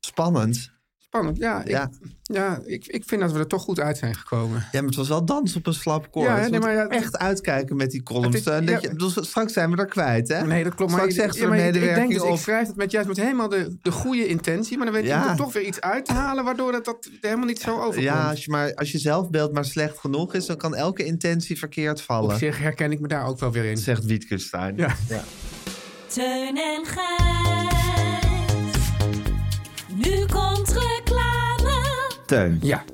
spannend.
Spannend. Ja, ik,
Ja.
ja. ik, ik vind dat we er toch goed uit zijn gekomen.
Ja, maar het was wel dans op een slap koord.
Ja, hè,
Je
nee,
moet
maar ja,
echt uitkijken met die columns.
Het is-
en dat
ja.
je, dus straks zijn we er kwijt, hè?
Nee, dat klopt. Maar,
Straks
ik-
zegt
ja,
de
maar ik- ik
medewerker
denk dus,
op...
ik schrijf het met juist met helemaal de, de goede intentie. Maar dan weet
Ja.
je er toch weer iets uit te halen, waardoor dat, dat helemaal niet zo overkomt.
Ja, als je, maar, als je zelfbeeld maar slecht genoeg is, dan kan elke intentie verkeerd
Op
vallen.
zich herken ik me daar ook wel weer in.
Zegt Wittgenstein.
Ja.
Teun en Gijs. Nu komt reclame.
Teun,
Ja.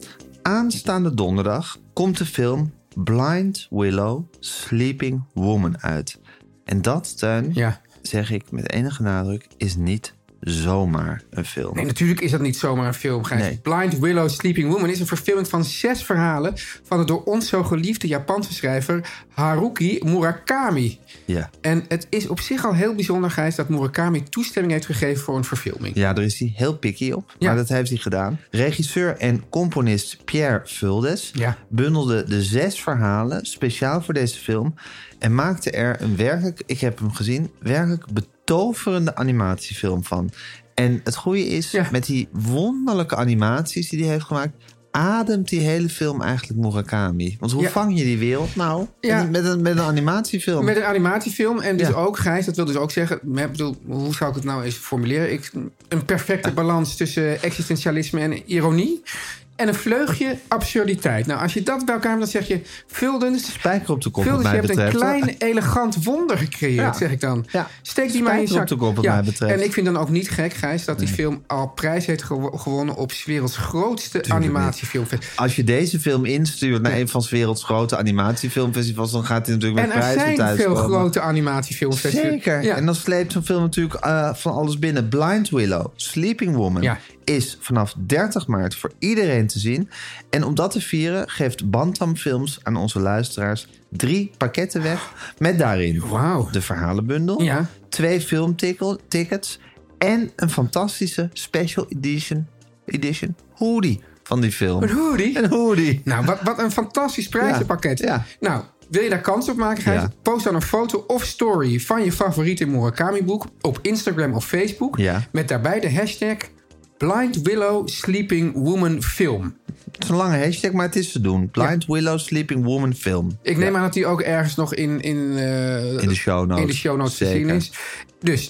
aanstaande donderdag komt de film Blind Willow, Sleeping Woman uit. En dat, Teun,
Ja.
zeg ik met enige nadruk, is niet zomaar een film.
Nee, natuurlijk is dat niet zomaar een film, Gijs.
Nee.
Blind Willow Sleeping Woman is een verfilming van zes verhalen... van de door ons zo geliefde Japanse schrijver Haruki Murakami.
Ja.
En het is op zich al heel bijzonder, Gijs... dat Murakami toestemming heeft gegeven voor een verfilming.
Ja, daar is hij heel picky op.
Ja.
Maar dat heeft hij gedaan. Regisseur en componist Pierre Vuldes
Ja.
bundelde de zes verhalen speciaal voor deze film. En maakte er een werkelijk, ik heb hem gezien, werkelijk betoverende animatiefilm van. En het goede is,
Ja.
met die wonderlijke animaties die hij heeft gemaakt. Ademt die hele film eigenlijk Murakami? Want hoe
Ja.
vang je die wereld nou?
Ja.
Met, een, met een animatiefilm.
Met een animatiefilm. En dus
Ja.
ook, Gijs, dat wil dus ook zeggen... maar ik bedoel, hoe zou ik het nou eens formuleren? Ik, een perfecte balans tussen existentialisme en ironie. en een vleugje absurditeit. Nou, als je dat bij elkaar hebt, dan zeg je... Vuldens,
Spijker op de kop,
Vuldens,
wat
je
mij
hebt een
betreft.
klein, elegant wonder gecreëerd,
Ja.
zeg ik dan. Steek die maar in je zak.
Spijker op de kop, wat mij betreft.
En ik vind dan ook niet gek, Gijs... dat die film al prijs heeft gewo- gewonnen... op 's werelds grootste animatiefilmfestival.
Als je deze film instuurt naar een van 's werelds grote animatiefilmfestivals, dan gaat hij natuurlijk
En
met
er
prijzen
zijn
thuis.
veel
komen.
grote animatiefilmfestivals.
Zeker.
Ja.
En dan sleept zo'n film natuurlijk eh, van alles binnen. Blind Willow, Sleeping Woman, is vanaf 30 maart voor iedereen te zien. En om dat te vieren geeft Bantam Films aan onze luisteraars drie pakketten weg. Met daarin de verhalenbundel, twee filmtickets en een fantastische special edition, edition hoodie van die film.
Een hoodie?
Een hoodie.
Nou, wat, wat een fantastisch prijzenpakket. Nou, wil je daar kans op maken, Gijs?
Ja.
Post dan een foto of story van je favoriete Murakami-boek... op Instagram of Facebook...
Ja.
met daarbij de hashtag... Blind Willow Sleeping Woman Film.
Het is een lange hashtag, maar het is te doen. Blind Willow Sleeping Woman Film.
Ik neem aan dat die ook ergens nog in, in, eh,
In de show notes.
in de show notes te
Zeker.
zien is. Dus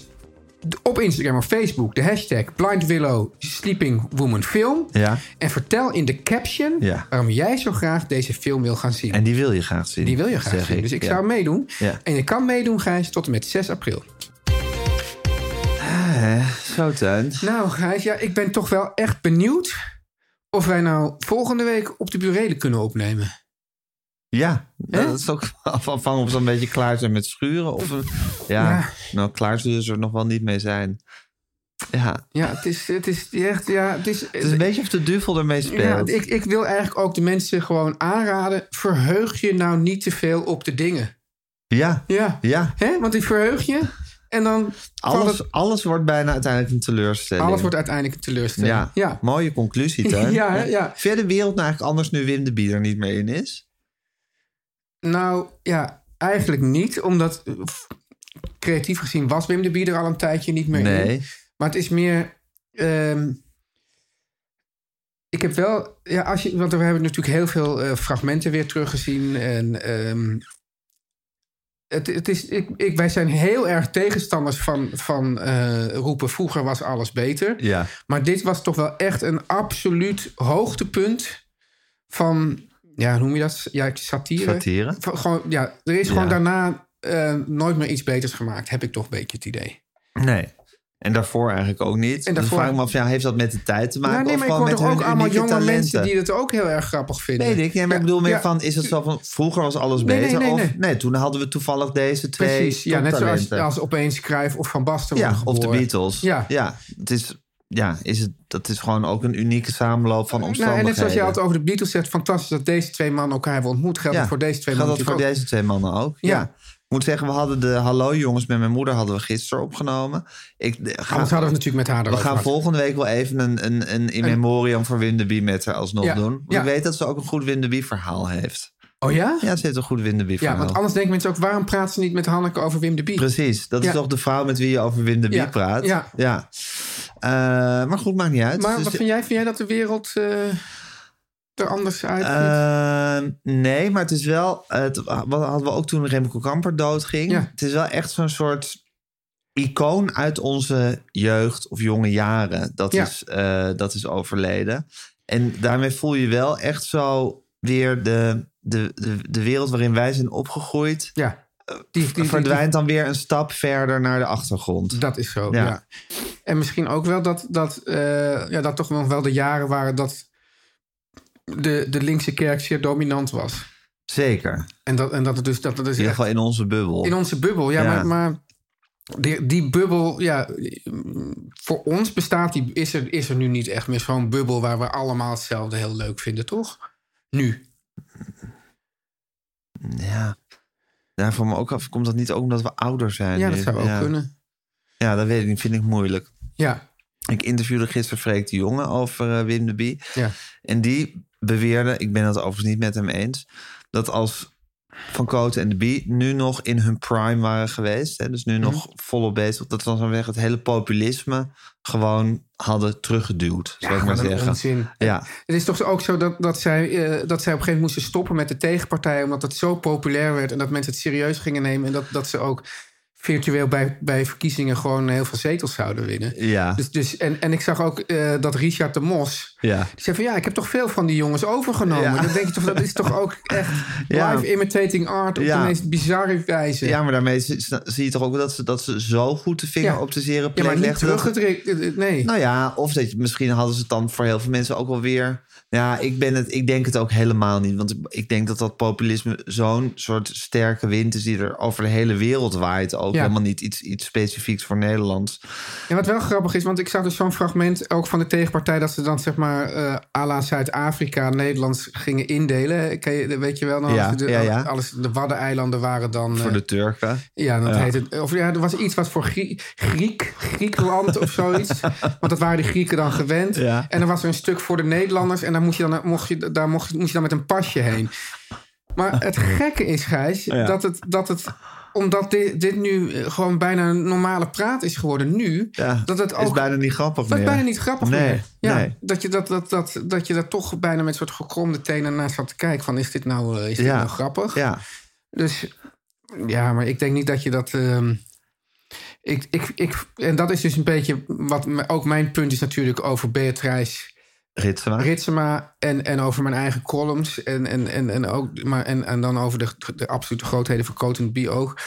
d- op Instagram of Facebook de hashtag Blind Willow Sleeping Woman Film.
Ja.
En vertel in de caption
Ja.
waarom jij zo graag deze film wil gaan zien.
En die wil je graag zien.
Die wil je graag
zeg
zien. Dus ik
ja.
zou meedoen.
Ja.
En je kan meedoen, Gijs, tot en met 6 april.
Eh, Zo, Tuin.
Nou, Gijs, ja, ik ben toch wel echt benieuwd of wij nou volgende week op de burelen kunnen opnemen.
Ja, dat is ook af- afhankelijk of ze een beetje klaar zijn met schuren. Of, een- ja,
Ja.
nou klaar zullen ze er nog wel niet mee zijn. Ja,
Ja, het is, het is echt, ja, het is...
het is een beetje of de duvel ermee
Ja,
speelt.
ik, ik wil eigenlijk ook de mensen gewoon aanraden... verheug je nou niet te veel op de dingen.
ja,
Ja.
ja.
Hè? Want die verheug je en dan... valt
Alles,
het-
alles wordt bijna uiteindelijk een teleurstelling.
alles wordt uiteindelijk een teleurstelling.
ja.
ja.
mooie conclusie, Tuin.
Ja, hè, ja.
Vind je de wereld nou eigenlijk anders nu Wim de Bier er niet meer in is?
Nou ja, eigenlijk niet. Omdat eh, f- creatief gezien was Wim de Bier er al een tijdje niet meer
Nee.
in. Maar het is meer... ehm, ik heb wel... Ja, als je, want we hebben natuurlijk heel veel eh, fragmenten weer teruggezien. En ehm, het, het is, ik, ik, wij zijn heel erg tegenstanders van, van eh, roepen... vroeger was alles beter.
Ja.
Maar dit was toch wel echt een absoluut hoogtepunt van, ja, hoe noem je dat? Ja, satire.
Satire.
Van, gewoon, ja, er is gewoon
Ja.
daarna eh, nooit meer iets beters gemaakt, heb ik toch een beetje het idee.
Nee. En daarvoor eigenlijk ook niet. En
daarvoor-
Dan vraag ik me af, ja, heeft dat met de tijd te maken?
nou, nee,
of
maar ik
gewoon
hoor
met
toch
hun
ook allemaal
unieke
jonge mensen
talenten?
die dat ook heel erg grappig vinden.
Weet ik, ja, maar ik bedoel meer
ja.
van, is het zo van, vroeger was alles
Nee, nee,
beter?
nee,
of
nee.
nee, toen hadden we toevallig deze twee
Precies, ja, net zoals
toptalenten.
als opeens Cruijff of Van Basten
ja,
worden
of de
geboren.
Beatles.
Ja.
het is, ja is het, dat is gewoon ook een unieke samenloop van
Nou,
omstandigheden.
en net zoals je altijd over de Beatles zegt, fantastisch dat deze twee mannen elkaar hebben ontmoet. Geldt
Ja,
dat voor deze twee
Geldt
mannen
dat voor
natuurlijk
deze twee mannen ook? Ja.
Ja.
Ik moet zeggen, we hadden de Hallo Jongens met mijn moeder hadden we gisteren opgenomen. Ik, de-
ook. Anders hadden we het natuurlijk met haar
we
erover
gaan
gehad.
volgende week wel even een, een, een in
Een-
memoriam voor Winderby met haar alsnog
Ja,
doen. Want
ja.
Ik weet dat ze ook een goed Winderby verhaal heeft.
Oh ja?
Ja, ze heeft een goed Winderby verhaal.
Ja, want anders denken mensen ook, waarom praten ze niet met Hanneke over Wim de Bie?
Precies, dat
Ja.
is toch de vrouw met wie je over Wim de Bie
Ja,
praat.
ja.
Eh, maar goed, maakt niet uit.
Maar
Dus-
wat vind jij? Vind jij dat de wereld eh, er anders uitziet?
Eh, nee, maar het is wel... Het, wat hadden we ook toen Remco Kamper doodging.
Ja.
Het is wel echt zo'n soort icoon uit onze jeugd of jonge jaren. Dat,
Ja.
is, eh, dat is overleden. En daarmee voel je wel echt zo weer de, de, de, de wereld waarin wij zijn opgegroeid...
ja. Die, die-
verdwijnt dan weer een stap verder naar de achtergrond.
Dat is zo, ja. En misschien ook wel dat, dat, eh, ja, dat toch nog wel de jaren waren dat de, de linkse kerk zeer dominant was.
Zeker.
En dat, en dat het dus, dat het dus
In ieder
echt
geval in onze bubbel.
in onze bubbel, ja,
Ja.
maar. maar die, die bubbel, ja, voor ons bestaat die, is er, is er nu niet echt meer zo'n bubbel waar we allemaal hetzelfde heel leuk vinden, toch? Nu.
Ja. Ja, voor me ook af. Komt dat niet ook omdat we ouder zijn?
Ja,
nu?
dat zou ook kunnen.
Ja, dat weet ik niet. Vind ik moeilijk.
Ja.
Ik interviewde gisteren Freek de Jonge over eh, Wim de Bie.
Ja.
En die beweerde, ik ben het overigens niet met hem eens, dat als Van Koten en de Bie nu nog in hun prime waren geweest, hè, dus nu
Mhm.
nog volop bezig, dat dan zo'n weg het hele populisme gewoon hadden teruggeduwd, zou ik maar
wat een
zeggen.
onzin.
Ja,
Het is toch ook zo dat, dat, zij, eh, dat zij op een gegeven moment moesten stoppen met de tegenpartij. omdat het zo populair werd en dat mensen het serieus gingen nemen. En dat, dat ze ook virtueel bij, bij verkiezingen gewoon heel veel zetels zouden winnen.
Ja.
Dus, dus, en, en ik zag ook eh, dat Richard de Mos.
Ja.
Die zei van ja, ik heb toch veel van die jongens overgenomen.
Ja.
Dan denk je toch, dat is toch ook echt
Ja.
live imitating art op
Ja.
de meest bizarre wijze.
Ja, maar daarmee zie, zie je toch ook wel dat ze, dat ze zo goed de vinger
Ja.
op de zere
Ja,
plek
maar niet
legden dat-
teruggedrukt. eh, Nee.
Nou ja, of dat je, misschien hadden ze het dan voor heel veel mensen ook wel weer. Ja, ik, ben het, ik denk het ook helemaal niet. Want ik- ik denk dat dat populisme zo'n soort sterke wind is die er over de hele wereld waait. Ook
Ja.
helemaal niet iets, iets specifieks voor Nederland.
En wat wel grappig is, want ik zag dus zo'n fragment ook van de tegenpartij... dat ze dan zeg maar eh à la Zuid-Afrika Nederlands gingen indelen. Ken je, weet je wel, dan
Ja,
hadden ze de,
ja, ja.
Alles, de Waddeneilanden waren dan...
Voor
eh,
de Turken.
Ja, dat heet het. Of ja, er was iets wat voor Grie- Griek, Griekenland of zoiets. Want dat waren de Grieken dan gewend.
Ja.
En dan was er een stuk voor de Nederlanders. En daar moest je dan, mocht je, daar mocht, moest je dan met een pasje heen. Maar het gekke is, Gijs,
Ja.
dat, het, dat het omdat dit, dit nu eh, gewoon bijna een normale praat is geworden nu.
Ja,
dat het ook,
is bijna niet grappig
dat
meer.
is bijna niet grappig
nee,
meer. Ja,
nee.
dat, je dat, dat, dat, dat je daar toch bijna met soort gekromde tenen naar zat te kijken. Van is dit nou, eh, is dit
Ja.
nou grappig?
Ja.
Dus ja, maar ik denk niet dat je dat. ehm, ik, ik, ik, en dat is dus een beetje wat m- ook mijn punt is natuurlijk over Beatrice
Ritsema.
Ritsema en, en over mijn eigen columns. En, en, en, en, ook, maar en, en dan over de, de absolute grootheden van Cotton B ook.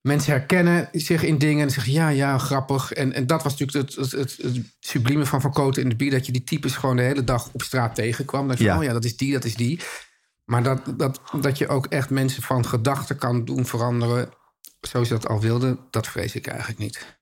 Mensen herkennen zich in dingen en zeggen ja, ja, grappig. En, en dat was natuurlijk het, het, het, het sublieme van Van Koten in de B. Dat je die types gewoon de hele dag op straat tegenkwam. Dat je,
Ja.
oh ja, dat is die, dat is die. Maar dat, dat, dat je ook echt mensen van gedachten kan doen veranderen. Zoals ze dat al wilden, dat vrees ik eigenlijk niet.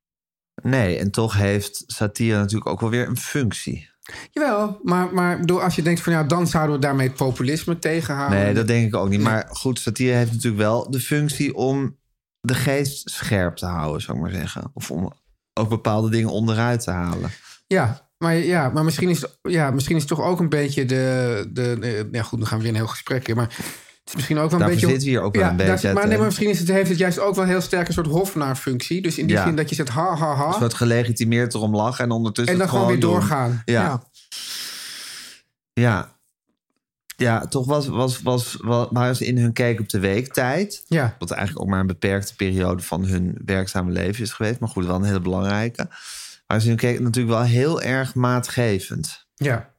Nee, en toch heeft satire natuurlijk ook wel weer een functie.
Jawel, maar, maar ik bedoel, als je denkt van ja, dan zouden we daarmee het populisme tegenhouden.
Nee, dat denk ik ook niet. Maar goed, satire heeft natuurlijk wel de functie om de geest scherp te houden, zou ik maar zeggen. Of om ook bepaalde dingen onderuit te halen.
Ja, maar, ja, maar misschien, is het, ja, misschien is het toch ook een beetje de. de, de- ja, goed, dan gaan we weer een heel gesprek in. Maar het is misschien ook wel een
Daarvoor
beetje.
zitten we hier ook wel
ja,
een
daar
beetje
zit- maar, nee, maar
uiteindelijk.
misschien is het, heeft het juist ook wel heel sterk een soort hofnaarfunctie. Dus in die
Ja.
zin dat je zegt ha ha ha.
Een soort Dus gelegitimeerd erom lachen en ondertussen
en dan
het
gewoon weer
doen.
doorgaan.
Ja, ja. ja. toch was, was, was, was, waren ze in hun kijk op de weektijd.
Ja.
Wat eigenlijk ook maar een beperkte periode van hun werkzame leven is geweest. Maar goed, wel een hele belangrijke. Maar ze in hun kijk natuurlijk wel heel erg maatgevend.
Ja.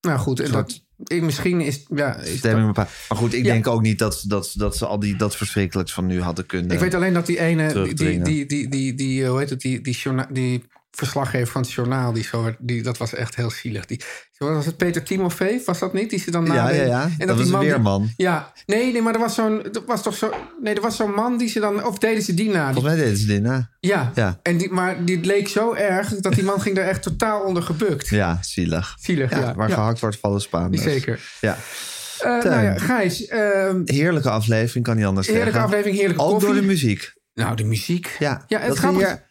Nou goed, en
Een
dat, ik- misschien is. Ja, is dat-
Stemming bepaald. Maar goed, ik
Ja.
denk ook niet dat, dat, dat ze al die, dat verschrikkelijks van nu hadden kunnen.
Ik weet alleen dat die ene, die, die,
terugdringen.
die, die, die, die, eh, hoe heet het, die, die, journa- die verslaggever van het journaal, die zo, werd- die, dat was echt heel zielig. Die, wat was het Peter Timofey? Was dat niet? Die ze dan
Ja,
nadenkt.
ja, ja.
En
Dat was een
die die-
weerman.
ja, nee, nee, maar er was zo'n, er was toch zo, nee, er was zo'n man die ze dan, of deden ze die na? Die-
Volgens mij deden ze dit, hè?
ja,
Ja.
En die, maar die leek zo erg dat die man ging daar echt totaal onder gebukt.
Ja, zielig.
Zielig, ja.
Waar
Ja.
gehakt wordt, vallen Spaanders.
Zeker.
Ja.
Eh, nou ja, Gijs, ehm,
Heerlijke aflevering, kan niet anders
Heerlijke
zeggen.
aflevering, heerlijke
Ook
koffie.
door de muziek.
nou de muziek.
Ja,
Ja, het
dat we
grappige-
hier-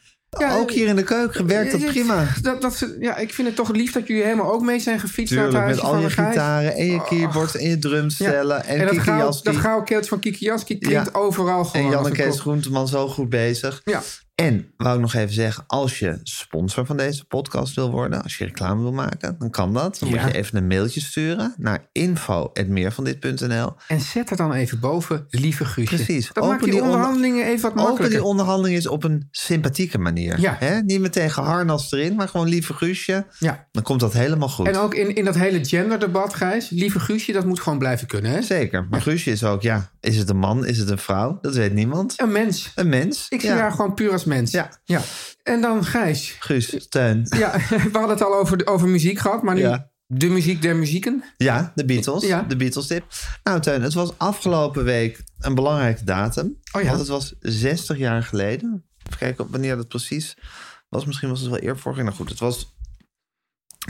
ja,
ook hier in de keuken werkt dat
Ja,
prima.
Dat, dat ze, ja, ik vind het toch lief dat jullie helemaal ook mee zijn gefietst naar
Tuurlijk,
het
met
huisje
al
van
je
de Gijs.
gitaren en je
Och.
keyboards en je drumstellen
Ja.
en,
dat
Kiki
gouden-
Jaspie.
Dat gouden keeltje van Kiki Jaski klinkt
Ja.
overal gewoon.
En Jan
als
en
een
Kees
klok.
Groenteman zo goed bezig.
Ja.
En wou ik nog even zeggen, als je sponsor van deze podcast wil worden, als je reclame wil maken, dan kan dat. Dan
Ja.
moet je even een mailtje sturen naar info.meervandit.nl.
En zet er dan even boven, lieve Guusje.
Precies.
Dat maakt die,
onder-
onderhandelingen even wat
Open
makkelijker.
die onderhandeling is op een sympathieke manier.
Ja.
Hè? Niet meteen geharnas erin, maar gewoon lieve Guusje.
Ja.
Dan komt dat helemaal goed.
En ook in, in dat hele genderdebat, Gijs. Lieve Guusje, dat moet gewoon blijven kunnen, hè?
Zeker. Maar Guusje is ook, ja, is het een man, is het een vrouw? Dat weet niemand.
Een mens.
Een mens.
Ik zie
ja.
haar gewoon puur als mens.
Ja.
ja. En dan Gijs.
Guus, Teun.
Ja, we hadden het al over, over muziek gehad, maar nu
Ja.
de muziek der muzieken.
Ja, de Beatles.
Ja.
De Beatles tip. Nou, Teun, het was afgelopen week een belangrijke datum.
Oh ja.
Want het was 60 jaar geleden. Even kijken wanneer dat precies was. Misschien was het wel eerder vorig jaar. Nou goed, het was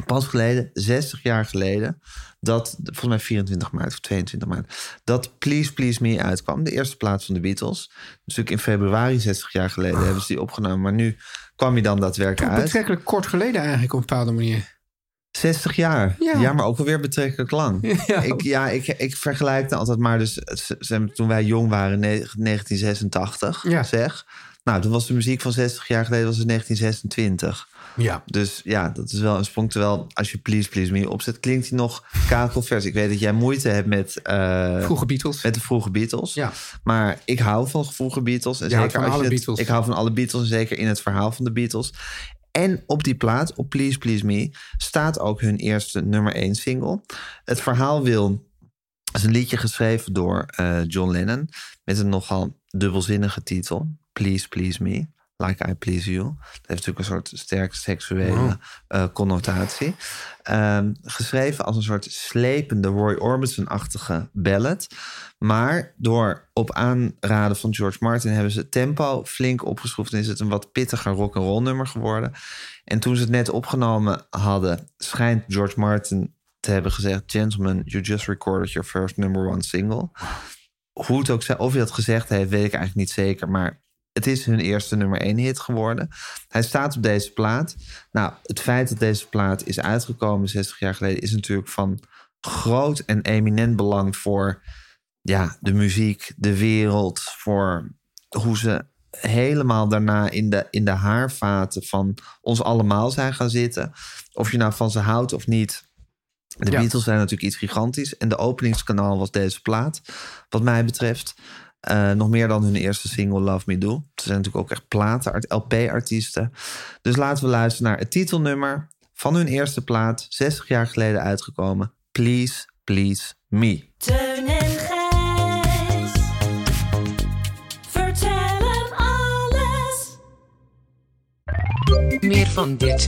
pas geleden, 60 jaar geleden, dat, volgens mij 24 maart of 22 maart, dat Please Please Me uitkwam. De eerste plaats van de Beatles. Natuurlijk in februari 60 jaar geleden hebben ze die opgenomen. Maar nu kwam hij dan daadwerkelijk uit.
Betrekkelijk kort geleden eigenlijk op een bepaalde manier.
60 jaar.
Ja.
Ja, maar ook alweer betrekkelijk lang. Ja, ik, ja, ik, ik vergelijk dan altijd maar. Dus z- zeg maar, toen wij jong waren, ne- 1986,
Ja.
zeg. Nou, toen was de muziek van 60 jaar geleden was het 1926.
Ja.
Dus ja, dat is wel een sprong. Terwijl als je Please Please Me opzet, klinkt die nog kakelvers. Ik weet dat jij moeite hebt met... eh,
Vroege Beatles.
Met de vroege Beatles.
Ja.
Maar ik hou van vroege Beatles. En
Je houdt
zeker
van
als je
alle
het-
Beatles.
Ik hou van alle Beatles, en zeker in het verhaal van de Beatles. En op die plaat, op Please Please Me, staat ook hun eerste nummer 1 single. Het verhaal wil is een liedje geschreven door eh, John Lennon met een nogal dubbelzinnige titel. Please, please me, like I please you. Dat heeft natuurlijk een soort sterk seksuele
Wow.
eh, connotatie. Ehm, geschreven als een soort slepende Roy Orbison-achtige ballad. Maar door op aanraden van George Martin hebben ze het tempo flink opgeschroefd en is het een wat pittiger rock'n'roll nummer geworden. En toen ze het net opgenomen hadden, schijnt George Martin te hebben gezegd: Gentlemen, you just recorded your first number one single. Hoe het ook zij, of hij dat gezegd heeft, weet ik eigenlijk niet zeker. Maar het is hun eerste nummer één hit geworden. Hij staat op deze plaat. Nou, het feit dat deze plaat is uitgekomen 60 jaar geleden, is natuurlijk van groot en eminent belang voor ja, de muziek, de wereld, voor hoe ze helemaal daarna in de, in de haarvaten van ons allemaal zijn gaan zitten. Of je nou van ze houdt of niet. De Beatles zijn natuurlijk iets gigantisch. En de openingskanaal was deze plaat, wat mij betreft. Eh, nog meer dan hun eerste single Love Me Do. Ze zijn natuurlijk ook echt platen, LP-artiesten. Dus laten we luisteren naar het titelnummer van hun eerste plaat, 60 jaar geleden uitgekomen. Please, Please Me.
Teun en Gijs. Vertel hem alles.
Meer van dit.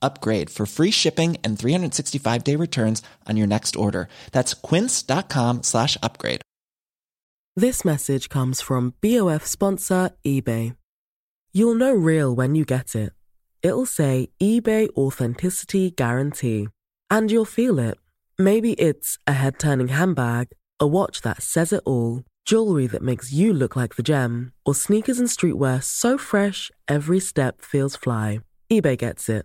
upgrade for free shipping and 365 day returns on your next order. That's quince.com slash upgrade.
This message comes from BOF sponsor eBay. You'll know real when you get it. It'll say eBay Authenticity Guarantee. And you'll feel it. Maybe it's a head turning handbag, a watch that says it all, jewelry that makes you look like the gem, or sneakers and streetwear so fresh every step feels fly. eBay gets it.